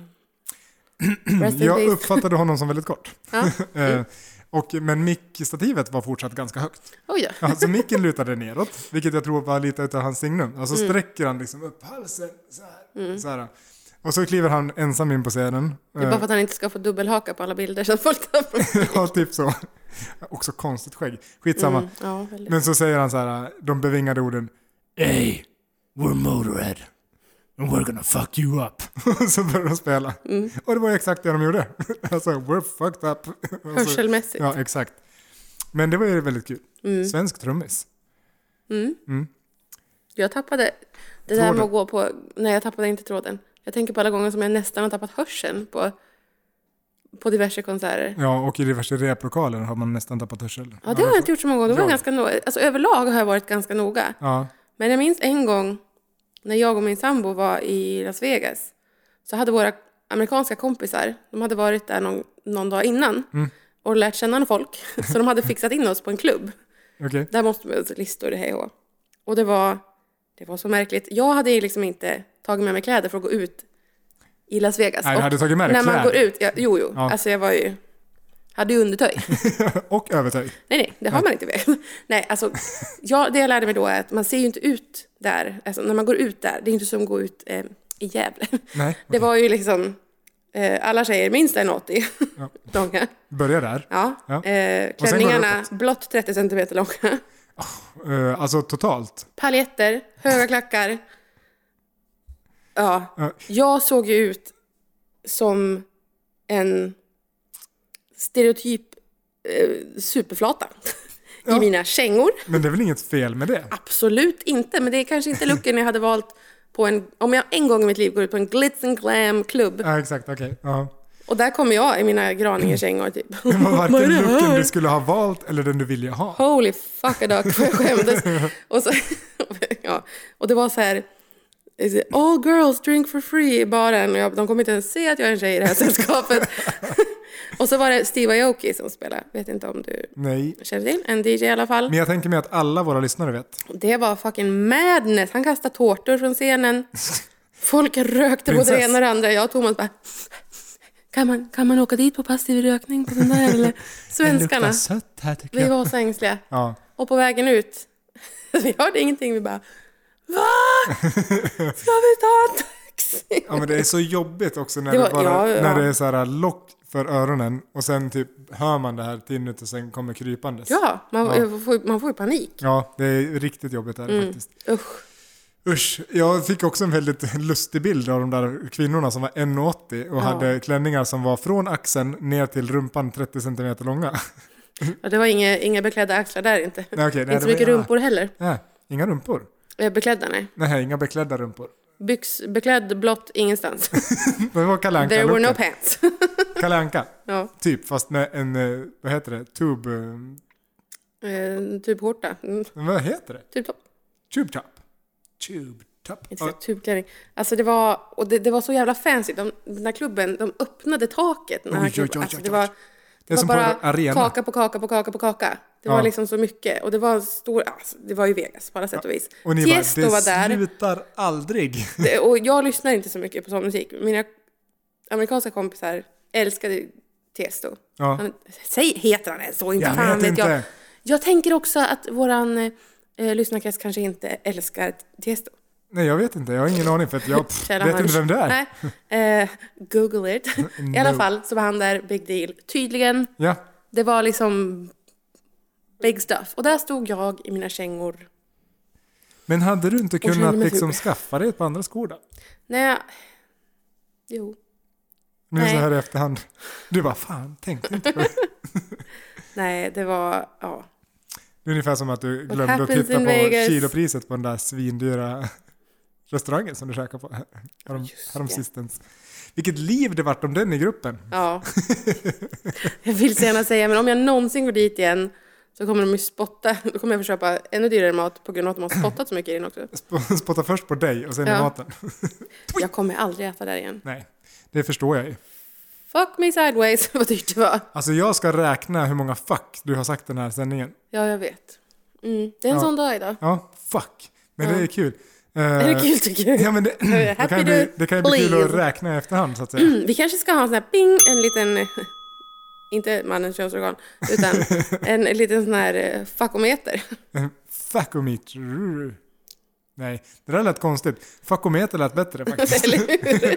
Speaker 1: Rest in
Speaker 2: Jag
Speaker 1: peace.
Speaker 2: uppfattade honom som väldigt kort.
Speaker 1: Ja. Mm.
Speaker 2: Eh, och, men mickstativet var fortsatt ganska högt.
Speaker 1: Oj då.
Speaker 2: Alltså micken lutade neråt, vilket jag tror var lite utav hans signum. Alltså
Speaker 1: Mm.
Speaker 2: sträcker han liksom upp halsen så här. Så här. Och så kliver han ensam in på scenen.
Speaker 1: Det är
Speaker 2: Eh,
Speaker 1: bara för att han inte ska få dubbelhaka på alla bilder så att folk tar på
Speaker 2: ja, typ så. Också konstigt skägg. Skitsamma.
Speaker 1: Mm, ja, väldigt.
Speaker 2: Men så säger han så här, de bevingade orden
Speaker 3: Hey, we're Motorhead. And we're gonna fuck you up.
Speaker 2: och så började de spela.
Speaker 1: Mm.
Speaker 2: Och det var exakt det de gjorde. Alltså, we're fucked up. Alltså,
Speaker 1: Hörselmässigt.
Speaker 2: ja, exakt. Men det var ju väldigt kul.
Speaker 1: Mm.
Speaker 2: Svensk trummis.
Speaker 1: Jag tappade det där
Speaker 2: Tråden.
Speaker 1: med att gå på... Nej, jag tappade inte tråden. Jag tänker på alla gånger som jag nästan har tappat hörseln på, på diverse konserter.
Speaker 2: Ja, och i diverse replokaler har man nästan tappat hörsel.
Speaker 1: Ja, det har jag inte gjort så många gånger. Det var
Speaker 2: Jag-
Speaker 1: ganska no... alltså, överlag har jag varit ganska noga.
Speaker 2: Ja,
Speaker 1: Men jag minns en gång när jag och min sambo var i Las Vegas så hade våra amerikanska kompisar, de hade varit där någon, någon dag innan
Speaker 2: Mm.
Speaker 1: och lärt känna folk. Så de hade fixat in oss på en klubb.
Speaker 2: okej.
Speaker 1: Där måste man listor, hej och hå. Och det var, det var så märkligt. Jag hade ju liksom inte tagit med mig kläder för att gå ut i Las Vegas.
Speaker 2: Nej, du
Speaker 1: Och
Speaker 2: hade tagit med dig
Speaker 1: När man
Speaker 2: kläder.
Speaker 1: går ut, ja, jo, jo.
Speaker 2: Ja.
Speaker 1: Alltså jag var ju, hade ju undertöj.
Speaker 2: Och övertöj.
Speaker 1: nej, nej, det har man inte i Vegas. Nej, alltså, jag, det jag lärde mig då är att man ser ju inte ut där. Alltså när man går ut där, det är inte som att gå ut eh, i Gävle.
Speaker 2: Nej,
Speaker 1: Det var ju liksom, Eh, alla tjejer minst 1,80
Speaker 2: Ja.
Speaker 1: långa.
Speaker 2: Börja där.
Speaker 1: Ja.
Speaker 2: Ja. Och
Speaker 1: Eh,
Speaker 2: går det
Speaker 1: klänningarna
Speaker 2: uppåt.
Speaker 1: blott 30 cm långa.
Speaker 2: Eh, alltså totalt.
Speaker 1: Paljetter, höga klackar. Ja.
Speaker 2: Ja.
Speaker 1: Jag såg ju ut som en stereotyp eh, superflata i mina kängor.
Speaker 2: Men det är väl inget fel med det?
Speaker 1: Absolut inte, men det är kanske inte looken jag hade valt på en, om jag en gång i mitt liv går ut på en glitz and glam klubb
Speaker 2: Ja, exakt. Okej. Ja.
Speaker 1: och där kommer jag i mina Graningekängor typ.
Speaker 2: Det var
Speaker 1: Vad är
Speaker 2: varken
Speaker 1: det
Speaker 2: looken
Speaker 1: här?
Speaker 2: du skulle ha valt eller den du ville ha.
Speaker 1: Holy fuck a duck, vad jag skämdes. och, så, ja. och det var så här, all girls drink for free i baren och jag, de kommer inte ens se att jag är en tjej i det här sällskapet. och så var det Steve Aoki som spelade, vet inte om du
Speaker 2: Nej.
Speaker 1: känner till, en DJ i alla fall.
Speaker 2: Men jag tänker mig att alla våra lyssnare vet.
Speaker 1: Det var fucking madness, han kastade tårtor från scenen. Folk rökte på
Speaker 2: Prinsess.
Speaker 1: det ena och det andra, jag och Thomas bara kan man, kan man åka dit på passiv rökning på den där eller svenskarna?
Speaker 2: sött här tycker
Speaker 1: Vi var så ängsliga.
Speaker 2: Ja.
Speaker 1: Och på vägen ut, vi hörde ingenting, vi bara Va? Ska vi ta en taxi?
Speaker 2: ja, men det är så jobbigt också när
Speaker 1: Det
Speaker 2: det,
Speaker 1: var-
Speaker 2: bara,
Speaker 1: ja, ja.
Speaker 2: När det är så här äh, lock för öronen och sen typ hör man det här tinnet och sen kommer krypandes.
Speaker 1: Ja, man, jag Får, man får ju panik.
Speaker 2: Ja, det är riktigt jobbigt där faktiskt.
Speaker 1: Mm. Usch.
Speaker 2: Usch, jag fick också en väldigt lustig bild av de där kvinnorna som var 1,80 och hade klänningar som var från axeln ner till rumpan 30 cm långa.
Speaker 1: Ja, det var inga, inga beklädda axlar där inte.
Speaker 2: Nej, okej, nej,
Speaker 1: inte så
Speaker 2: det var-
Speaker 1: mycket
Speaker 2: ja.
Speaker 1: rumpor heller.
Speaker 2: Nej, inga rumpor.
Speaker 1: Eh, Beklädda, nej.
Speaker 2: Nej, inga beklädda rumpor.
Speaker 1: Byx, beklädd blott ingenstans.
Speaker 2: Det var Kalle
Speaker 1: There were no
Speaker 2: Anka-looken.
Speaker 1: pants.
Speaker 2: Kalle Anka,
Speaker 1: ja.
Speaker 2: typ, fast med en, eh, vad heter det, tub... eh,
Speaker 1: eh, typ skjorta. Mm,
Speaker 2: Vad heter det?
Speaker 1: Typ topp.
Speaker 2: Tube top. Tube top.
Speaker 1: Inte så tubklänning. Alltså det var, och det, det var så jävla fancy. De, den här klubben, de öppnade taket. Den här
Speaker 2: Oj, oj,
Speaker 1: klubben.
Speaker 2: oj,
Speaker 1: Alltså
Speaker 2: oj,
Speaker 1: det
Speaker 2: oj.
Speaker 1: var,
Speaker 2: Det är
Speaker 1: det
Speaker 2: som
Speaker 1: var bara
Speaker 2: på en arena.
Speaker 1: kaka på kaka på kaka på kaka. Det
Speaker 2: Ja.
Speaker 1: var liksom så mycket. Och det var en stor, alltså, det var ju Vegas på alla sätt och vis.
Speaker 2: Och ni
Speaker 1: Tiesto
Speaker 2: bara,
Speaker 1: var
Speaker 2: det
Speaker 1: där.
Speaker 2: slutar aldrig.
Speaker 1: Det- Och jag lyssnar inte så mycket på sån musik. Mina amerikanska kompisar älskade Tiesto.
Speaker 2: Ja.
Speaker 1: Han, säg, heter han ens så? Inte
Speaker 2: Jag
Speaker 1: fan
Speaker 2: vet
Speaker 1: vet jag.
Speaker 2: inte.
Speaker 1: Jag tänker också att våran eh, lyssnarkrets kanske inte älskar Tiesto.
Speaker 2: Nej, jag vet inte. Jag har ingen aning för att jag pff,
Speaker 1: Kära
Speaker 2: vet
Speaker 1: Hans.
Speaker 2: inte vem det är.
Speaker 1: Nej, eh, Google it. I alla
Speaker 2: No.
Speaker 1: fall så var han där, big deal. Tydligen,
Speaker 2: Ja,
Speaker 1: det var liksom big stuff. Och där stod jag i mina kängor.
Speaker 2: men hade du inte
Speaker 1: känner
Speaker 2: kunnat
Speaker 1: mig
Speaker 2: liksom
Speaker 1: ful.
Speaker 2: skaffa dig ett par andra skor då?
Speaker 1: Nej, jag... Jo.
Speaker 2: Nu
Speaker 1: Nej.
Speaker 2: så här i efterhand. Du bara, fan, tänkte inte på det.
Speaker 1: Nej, det var... Ja.
Speaker 2: Det är ungefär som att du glömde att
Speaker 1: happens
Speaker 2: titta
Speaker 1: in
Speaker 2: på
Speaker 1: Vegas?
Speaker 2: kilopriset på den där svindyra restaurangen som du käkade på härom,
Speaker 1: Just
Speaker 2: härom
Speaker 1: det.
Speaker 2: sistens. Vilket liv det vart om den i gruppen.
Speaker 1: ja. jag vill så gärna säga, men om jag någonsin går dit igen så kommer de ju spotta. Då kommer jag få köpa ännu dyrare mat på grund av att de har spottat så mycket i den också.
Speaker 2: Sp- Spotta först på dig och sen i
Speaker 1: Ja.
Speaker 2: maten.
Speaker 1: Jag kommer aldrig äta där igen.
Speaker 2: Nej, det förstår jag ju.
Speaker 1: Fuck me sideways, vad dyrt det var.
Speaker 2: Alltså jag ska räkna hur många fuck du har sagt den här sändningen.
Speaker 1: Ja, jag vet. Mm. Det är en
Speaker 2: Ja.
Speaker 1: sån dag idag.
Speaker 2: Ja, fuck. Men det är kul.
Speaker 1: Är det kul tycker du?
Speaker 2: Eh, Ja, men det, det kan
Speaker 1: Happy
Speaker 2: ju bli,
Speaker 1: to
Speaker 2: det kan ju bli kul
Speaker 1: please.
Speaker 2: att räkna i efterhand så att säga.
Speaker 1: Vi kanske ska ha en sån här ping, en liten, eh, inte mannens könsorgan, utan en liten sån här eh, fuckometer.
Speaker 2: Fuckometer. Nej, det där lät konstigt. Fuckometer lät bättre faktiskt.
Speaker 1: Eller hur?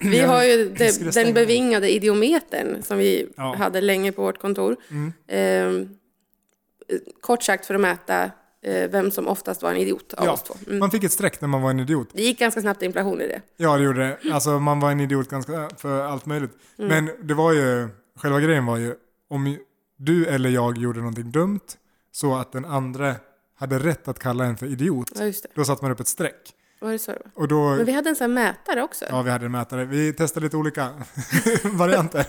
Speaker 1: Vi har ju
Speaker 2: Jag skulle
Speaker 1: de,
Speaker 2: stänga
Speaker 1: den
Speaker 2: den.
Speaker 1: bevingade idiometern som vi
Speaker 2: Ja. Mm.
Speaker 1: hade länge på vårt kontor. Ehm, eh, kort sagt för att mäta eh, vem som oftast var en idiot av
Speaker 2: Ja,
Speaker 1: oss två. Mm.
Speaker 2: man fick ett streck när man var en idiot.
Speaker 1: Det gick ganska snabbt inflation i det.
Speaker 2: Ja, det gjorde det. Alltså man var en idiot ganska för allt möjligt.
Speaker 1: Mm.
Speaker 2: Men det var ju, själva grejen var ju, om du eller jag gjorde någonting dumt så att den andra hade rätt att kalla en för idiot,
Speaker 1: Ja, just det.
Speaker 2: då satte man upp ett streck.
Speaker 1: Var det så det var?
Speaker 2: Och då...
Speaker 1: Men vi hade en sån här mätare också.
Speaker 2: Mm. Ja, vi hade en mätare. Vi testade lite olika varianter.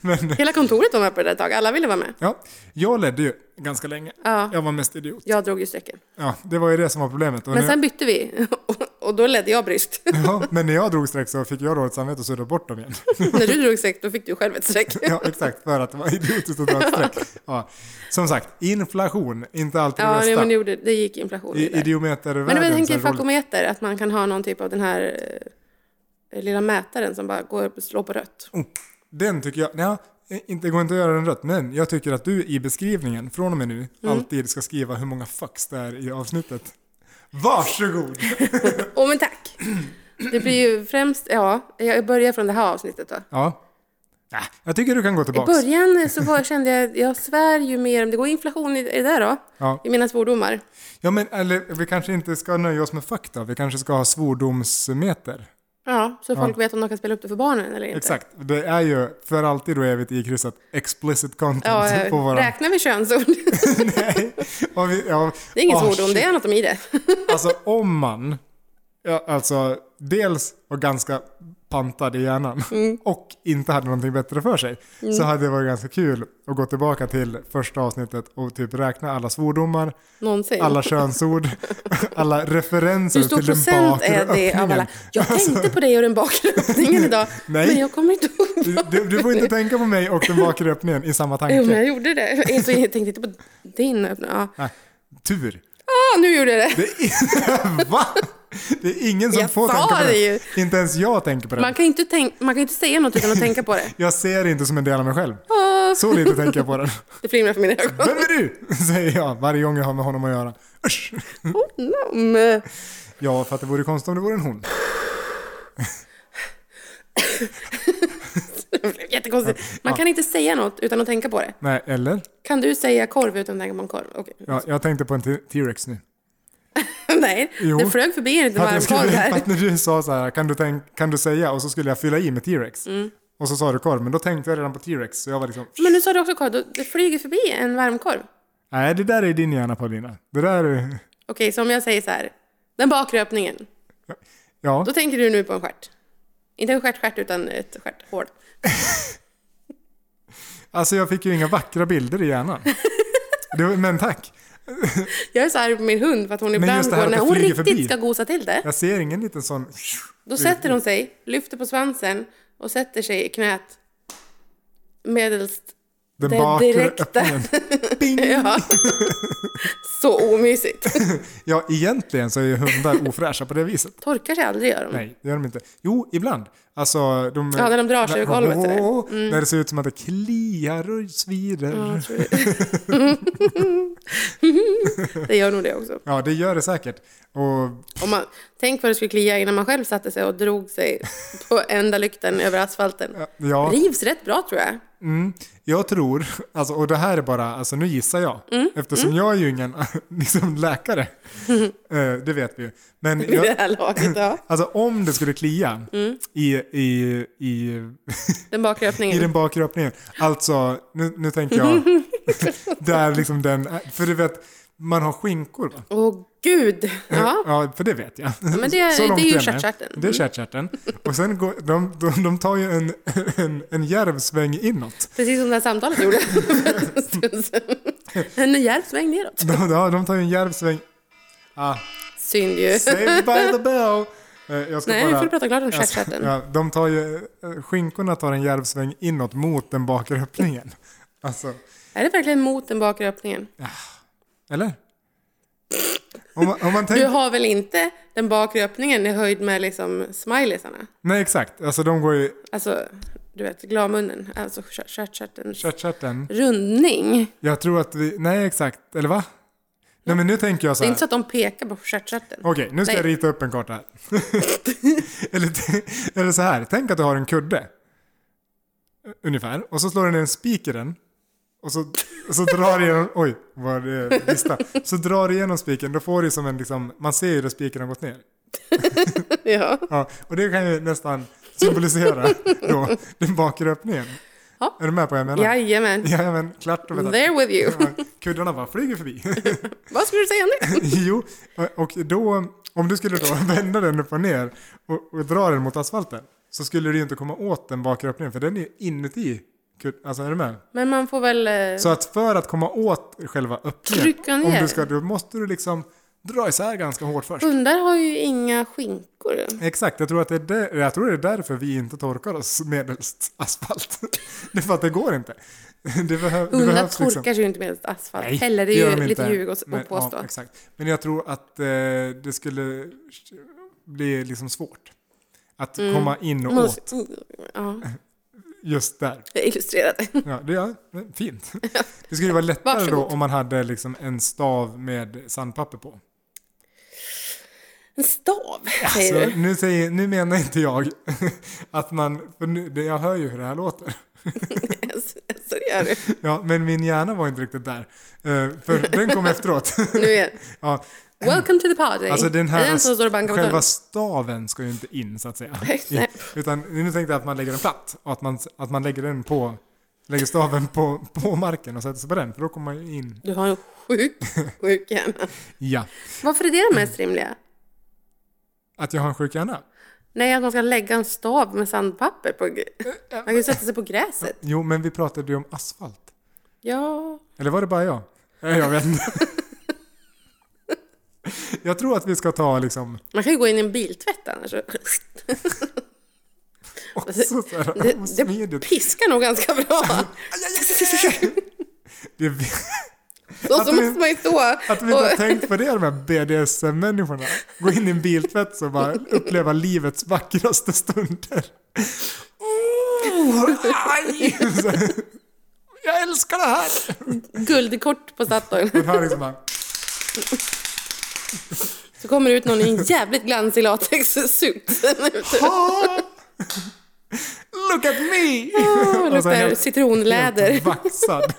Speaker 2: Men
Speaker 1: Hela kontoret var med på det där ett tag. Alla ville vara med.
Speaker 2: ja, jag ledde ju ganska länge.
Speaker 1: Ja.
Speaker 2: Jag var mest idiot.
Speaker 1: Jag drog ju strecken.
Speaker 2: Ja, det var ju det som var problemet. Och
Speaker 1: Men
Speaker 2: nu,
Speaker 1: sen bytte vi och- och då ledde jag bryskt.
Speaker 2: ja, men när jag drog streck så fick jag dåligt samvete och suddade bort dem igen.
Speaker 1: När du drog streck då fick du själv ett streck.
Speaker 2: ja, exakt. För att det var idiotiskt att dra ett streck. Ja. Som sagt, inflation. Inte alltid det
Speaker 1: Ja, nej,
Speaker 2: bästa.
Speaker 1: men det, gjorde, det gick inflation i
Speaker 2: I
Speaker 1: det. där.
Speaker 2: idiometervärlden
Speaker 1: Men om jag
Speaker 2: så
Speaker 1: tänker
Speaker 2: är det roligt.
Speaker 1: fakometer, att man kan ha någon typ av den här eh, lilla mätaren som bara går och slår på rött.
Speaker 2: Oh, Den tycker jag... Ja, inte, det går inte att göra den rött, men jag tycker att du i beskrivningen från och med nu
Speaker 1: Mm.
Speaker 2: alltid ska skriva hur många fucks det är i avsnittet. Varsågod!
Speaker 1: Åh, men tack! Det blir ju främst, ja, jag börjar från det här avsnittet då.
Speaker 2: Ja. Äh, Jag tycker du kan gå
Speaker 1: I
Speaker 2: tillbaks.
Speaker 1: början så var, kände jag, jag svär ju mer om det går inflation i i det där då,
Speaker 2: Ja.
Speaker 1: i mina svordomar.
Speaker 2: Ja, men eller, vi kanske inte ska nöja oss med fakta. Vi kanske ska ha svordomsmeter.
Speaker 1: Ja, så folk vet om de kan spela upp det för barnen eller inte.
Speaker 2: Exakt. Det är ju för alltid och evigt ikrystat explicit content
Speaker 1: Ja,
Speaker 2: på våran...
Speaker 1: räknar vi könsord?
Speaker 2: Nej. Och vi, ja,
Speaker 1: Det är ingen
Speaker 2: Ah,
Speaker 1: svordom, det
Speaker 2: shit.
Speaker 1: är anatomi det.
Speaker 2: Alltså om man, ja, alltså dels var ganska pantad i hjärnan
Speaker 1: Mm.
Speaker 2: och inte hade någonting bättre för sig så hade det varit ganska kul att gå tillbaka till första avsnittet och typ räkna alla svordomar,
Speaker 1: Någonsin.
Speaker 2: alla könsord, alla referenser
Speaker 1: Hur stor
Speaker 2: till den
Speaker 1: procent
Speaker 2: bakre
Speaker 1: är det av
Speaker 2: öppningen. Alltså-
Speaker 1: alla? Jag tänkte på dig och den bakre öppningen idag,
Speaker 2: Nej.
Speaker 1: men jag kommer inte ihåg.
Speaker 2: Du, du, du får inte tänka på mig och den bakre öppningen i samma
Speaker 1: Jo, men
Speaker 2: tanke.
Speaker 1: jag gjorde det. Jag insåg- jag tänkte inte på din öppning. Ja,
Speaker 2: Nej, tur.
Speaker 1: ah, nu gjorde jag det.
Speaker 2: Det är, va? Det är ingen som
Speaker 1: Jag
Speaker 2: får
Speaker 1: sa
Speaker 2: tänka på
Speaker 1: det
Speaker 2: det.
Speaker 1: ju.
Speaker 2: Inte ens jag tänker på det.
Speaker 1: Man kan, inte tänk- man kan inte säga något utan att tänka på det.
Speaker 2: Jag ser det inte som en del av mig själv.
Speaker 1: Ah,
Speaker 2: Så lite tänker jag på den.
Speaker 1: det flimrar för mina ögon.
Speaker 2: Vem är du? Säger jag varje gång jag har med honom att göra. Usch.
Speaker 1: Nom.
Speaker 2: Ja, för att det vore konstigt om det vore en hon.
Speaker 1: Det blev jättekonstigt. Man kan inte säga något utan att tänka på det.
Speaker 2: Nej, eller?
Speaker 1: Kan du säga korv utan att tänka på en korv? Okej.
Speaker 2: Ja, jag tänkte på en T- T-Rex nu.
Speaker 1: Nej,
Speaker 2: Jo.
Speaker 1: det flög förbi en liten
Speaker 2: För att, jag
Speaker 1: varmkorv
Speaker 2: skulle, för
Speaker 1: där.
Speaker 2: att när du sa så här, kan du, tänk, kan du säga? Och så skulle jag fylla i med T-Rex. Och så sa du korv, men då tänkte jag redan på T-Rex. Så jag var liksom,
Speaker 1: Men nu sa du också korv. då- Det flyger förbi en varmkorv.
Speaker 2: nej det där är din hjärna Paulina. Det där är...
Speaker 1: Okej, så om jag säger så här. Den bakre öppningen.
Speaker 2: Ja,
Speaker 1: Då tänker du nu på en stjärt. Inte en stjärtstjärt utan ett stjärthål.
Speaker 2: alltså jag fick ju inga vackra bilder i hjärnan. Det var, men tack.
Speaker 1: Jag är så arg på min hund för att hon ibland
Speaker 2: just det
Speaker 1: går,
Speaker 2: här att
Speaker 1: när
Speaker 2: det
Speaker 1: hon
Speaker 2: flyger
Speaker 1: riktigt
Speaker 2: förbi.
Speaker 1: ska gosa till det,
Speaker 2: Jag ser ingen liten sån...
Speaker 1: då sätter hon sig, lyfter på svansen och sätter sig i knät medelst
Speaker 2: Den
Speaker 1: Det
Speaker 2: bakre
Speaker 1: direkta.
Speaker 2: öppningen. Bing!
Speaker 1: Ja. Så omysigt.
Speaker 2: Ja, egentligen så är ju hundar ofräscha på det viset.
Speaker 1: Torkar sig aldrig gör de.
Speaker 2: Nej, det gör de inte. Jo, ibland. Alltså, de...
Speaker 1: Ja, när de drar sig ur golvet, eller?
Speaker 2: Åh, När det ser ut som att det kliar och svider.
Speaker 1: Ja,
Speaker 2: Ja.
Speaker 1: jag tror det. det gör nog det också.
Speaker 2: det gör det säkert. Och
Speaker 1: Om man, tänk vad det skulle klia innan man själv satte sig och drog sig på enda lykten över asfalten.
Speaker 2: ja,
Speaker 1: Rivs rätt bra tror jag.
Speaker 2: mm, jag tror, alltså, och det här är bara, alltså nu gissar jag,
Speaker 1: Mm.
Speaker 2: eftersom jag är ju ingen liksom, läkare. Eh, det vet vi ju. Men
Speaker 1: Vid det
Speaker 2: jag,
Speaker 1: här laget. Ja.
Speaker 2: alltså, om det skulle klia
Speaker 1: Mm.
Speaker 2: i, i, i,
Speaker 1: Den bakre öppningen.
Speaker 2: i den bakre öppningen, alltså nu, nu tänker jag, där liksom den, för du vet, man har skinkor va?
Speaker 1: Åh gud! Ja.
Speaker 2: Ja, för det vet jag.
Speaker 1: men det är- det är
Speaker 2: långt
Speaker 1: ju
Speaker 2: jag med.
Speaker 1: stjärtstjärten.
Speaker 2: Det är stjärtstjärten. Och sen går, de, de, de tar ju en, en, en djärv sväng inåt.
Speaker 1: Precis som det här samtalet gjorde för en stund sedan. En djärv sväng neråt.
Speaker 2: De, de, de tar ju en djärv sväng... Ah,
Speaker 1: Synd ju.
Speaker 2: saved by the bell! Eh, Jag ska
Speaker 1: Nej,
Speaker 2: bara,
Speaker 1: vi får prata klart om
Speaker 2: jag ska-
Speaker 1: stjärtstjärten.
Speaker 2: Ja, de tar ju... eh, Skinkorna tar en djärv sväng inåt mot den bakre öppningen. Alltså,
Speaker 1: Är det verkligen mot den bakre öppningen?
Speaker 2: eller? Om man, om man
Speaker 1: Du
Speaker 2: tänker...
Speaker 1: har väl inte den bakre öppningen i höjd med liksom smileysarna?
Speaker 2: Nej, exakt. Alltså de går ju...
Speaker 1: Alltså, du vet, glasmunnen. Alltså stjärt- stjärtstjärtens
Speaker 2: Stjärtstjärten.
Speaker 1: rundning.
Speaker 2: Jag tror att vi... Nej, exakt. Eller va? Nej, men nu tänker jag så
Speaker 1: Det är
Speaker 2: här.
Speaker 1: inte så att de pekar på stjärtstjärten.
Speaker 2: Okej, nu ska
Speaker 1: Nej.
Speaker 2: jag rita upp en karta här. eller, t- eller så här, tänk att du har en kudde. Ungefär. Och så slår du ner en spik i den. Och så, och så drar du igenom, oj, vad det lista. Så drar du igenom spiken, då får du som en liksom, man ser ju där spiken har gått ner.
Speaker 1: Ja.
Speaker 2: Ja, och det kan ju nästan symbolisera då den bakre öppningen.
Speaker 1: Ja.
Speaker 2: Är du med på vad jag menar?
Speaker 1: Jajamän.
Speaker 2: Ja, men klart och betat.
Speaker 1: There with you.
Speaker 2: Kuddarna bara flyger förbi.
Speaker 1: Vad skulle du säga om det?
Speaker 2: Jo, och då, om du skulle då vända den upp och ner och, och dra den mot asfalten så skulle du ju inte komma åt den bakre öppningen för den är inuti. kul- Alltså är du med?
Speaker 1: Men man får väl... eh,
Speaker 2: Så att för att komma åt själva öppningen,
Speaker 1: Trycka ner.
Speaker 2: Om du ska, då måste du liksom dra isär ganska hårt först.
Speaker 1: Hundar har ju inga skinkor.
Speaker 2: Exakt, jag tror, att det är där, jag tror det är därför vi inte torkar oss medelst asfalt. Det är för att det går inte. Det, behöv, det
Speaker 1: Hundar
Speaker 2: behövs
Speaker 1: torkar
Speaker 2: liksom.
Speaker 1: sig ju inte med asfalt
Speaker 2: Nej,
Speaker 1: heller. Det
Speaker 2: gör
Speaker 1: är
Speaker 2: de
Speaker 1: ju lite
Speaker 2: inte.
Speaker 1: ljug att
Speaker 2: Men-
Speaker 1: att påstå.
Speaker 2: Ja, exakt. Men jag tror att eh, det skulle bli liksom svårt att
Speaker 1: Mm.
Speaker 2: komma in och
Speaker 1: Man
Speaker 2: åt
Speaker 1: måste- ja,
Speaker 2: just där.
Speaker 1: jag illustrerade.
Speaker 2: Ja, det är ja, fint. Det skulle ju vara lättare då
Speaker 1: Varsågod.
Speaker 2: om man hade liksom en stav med sandpapper på.
Speaker 1: En stav, säger
Speaker 2: Så
Speaker 1: du.
Speaker 2: nu, säger, nu menar inte jag att man, för nu, det- jag hör ju hur det här låter.
Speaker 1: Så det gör du.
Speaker 2: Ja, men min hjärna var inte riktigt där. Eh, För den kom efteråt.
Speaker 1: Nu är
Speaker 2: Ja,
Speaker 1: Welcome to the party.
Speaker 2: alltså den här,
Speaker 1: Är det den som står och bankar på
Speaker 2: själva
Speaker 1: dörren?
Speaker 2: staven ska ju inte in så att säga.
Speaker 1: Nej.
Speaker 2: Utan nu tänkte jag att man lägger den platt och att man, att man lägger den på, lägger staven på, på marken och sätter sig på den, för då kommer man ju in.
Speaker 1: Du har en sjuk, sjuk hjärna.
Speaker 2: Ja.
Speaker 1: Varför är det det mest rimliga?
Speaker 2: Att jag har en sjuk hjärna?
Speaker 1: Nej, att man ska lägga en stav med sandpapper på... gr- Man kan ju sätta sig på gräset.
Speaker 2: Jo, men vi pratade ju om asfalt.
Speaker 1: Ja,
Speaker 2: Eller var det bara jag? Nej, Jag vet inte. Jag tror att vi ska ta liksom...
Speaker 1: man kan ju gå in i en biltvätt annars.
Speaker 2: Också så här,
Speaker 1: Alltså, Det, det
Speaker 2: osmidigt.
Speaker 1: piskar nog ganska bra.
Speaker 2: Det, vi-
Speaker 1: Så,
Speaker 2: Att
Speaker 1: så
Speaker 2: vi-
Speaker 1: måste man ju stå
Speaker 2: att vi inte har
Speaker 1: och
Speaker 2: tänkt på det, de här BDSM-människorna. Gå in i en biltvätt och bara uppleva livets vackraste stunder. Oh, aj! Så här, Jag älskar det här!
Speaker 1: guldkort på Statoil.
Speaker 2: Den här liksom bara,
Speaker 1: Så kommer det ut någon i en jävligt glansig latexsuit.
Speaker 2: ah, Look at me!
Speaker 1: Åh,
Speaker 2: Och så
Speaker 1: Luktar
Speaker 2: Alltså, helt-
Speaker 1: citronläder.
Speaker 2: Helt vaxad.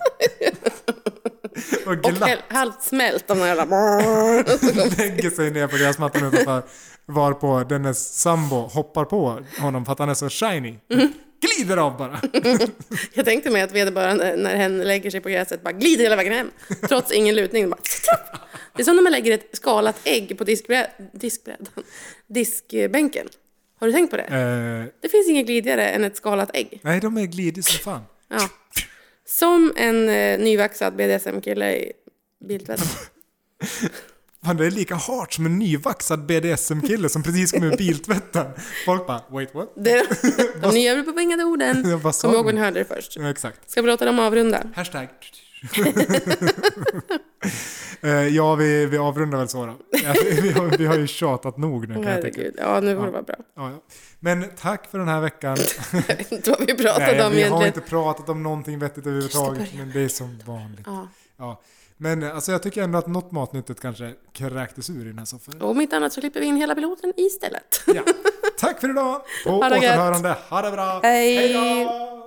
Speaker 2: Och
Speaker 1: Och
Speaker 2: glatt
Speaker 1: hel- halvt smält av den här jävla...
Speaker 2: lägger sig ner på gräsmattan utanför. Varpå dennes sambo hoppar på honom för att han är så shiny. Glider av bara.
Speaker 1: Jag tänkte mig att vederbörande, när hen lägger sig på gräset, bara glider hela vägen hem. Trots ingen lutning. Bara, tjopp. det är som när man lägger ett skalat ägg på diskbrä- diskbrädan. Diskbänken. Har du tänkt på det?
Speaker 2: Eh,
Speaker 1: Det finns inget glidigare än ett skalat ägg.
Speaker 2: nej, de är glidiga som fan.
Speaker 1: Ja. Som en eh, nyvaxad BDSM-kille i biltvätten.
Speaker 2: Fan, det är lika hårt som en nyvaxad BDSM-kille som precis kom ur biltvätten. Folk bara, wait what?
Speaker 1: Det- De nya bevingade orden.
Speaker 2: Jag bara, sa
Speaker 1: Kom ihåg
Speaker 2: ni?
Speaker 1: när ni hörde det först.
Speaker 2: Ja, Exakt.
Speaker 1: Ska vi låta dem avrunda?
Speaker 2: Hashtag. Eh, ja, vi, vi avrundar väl så då. Ja, vi, har, vi har ju tjatat nog nu kan jag tycka.
Speaker 1: Herregud, ja nu får det vara bra.
Speaker 2: Ja, ja. Men tack för den här veckan.
Speaker 1: Jag vet inte vad vi pratade
Speaker 2: Nej, vi
Speaker 1: om
Speaker 2: har
Speaker 1: egentligen.
Speaker 2: inte pratat om någonting vettigt överhuvudtaget, men det är som vanligt.
Speaker 1: Ja.
Speaker 2: Ja. Men eh, alltså, jag tycker ändå att något matnyttigt kanske kräktes ur i den här soffan.
Speaker 1: Om inte annat så klipper vi in hela piloten istället.
Speaker 2: Ja. Tack för idag! På
Speaker 1: Ha det gött.
Speaker 2: återhörande, ha det bra!
Speaker 1: Hej.
Speaker 2: då!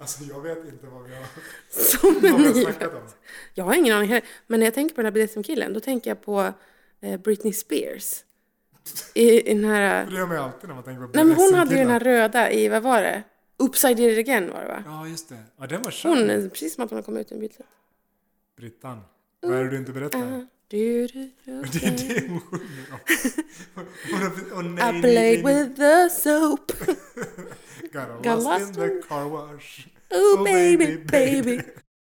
Speaker 2: Alltså jag vet inte vad vi har,
Speaker 1: Som en
Speaker 2: vad vi har
Speaker 1: ny-
Speaker 2: snackat om.
Speaker 1: Jag har ingen aning heller. Men när jag tänker på den här BDSM-killen, då tänker jag på eh, Britney Spears. I, i den här...
Speaker 2: Det gör man ju alltid när man tänker på
Speaker 1: Nej men hon hade ju
Speaker 2: BDSM-killar.
Speaker 1: den här röda i, vad var det? Upside it again var det va?
Speaker 2: Ja just det. Ja den var skön.
Speaker 1: Hon, är precis som att hon har kommit ut ur en biltvätt.
Speaker 2: Brittan. Vad är det du inte
Speaker 1: Mm.
Speaker 2: berättar?
Speaker 1: Ah, Du, du, du,
Speaker 2: Det är det hon sjunger om. Hon har- Åh nej,
Speaker 1: I
Speaker 2: nej,
Speaker 1: played
Speaker 2: nej.
Speaker 1: with the soap. got
Speaker 2: Got lost
Speaker 1: lost
Speaker 2: in the car wash.
Speaker 1: Oh baby, baby.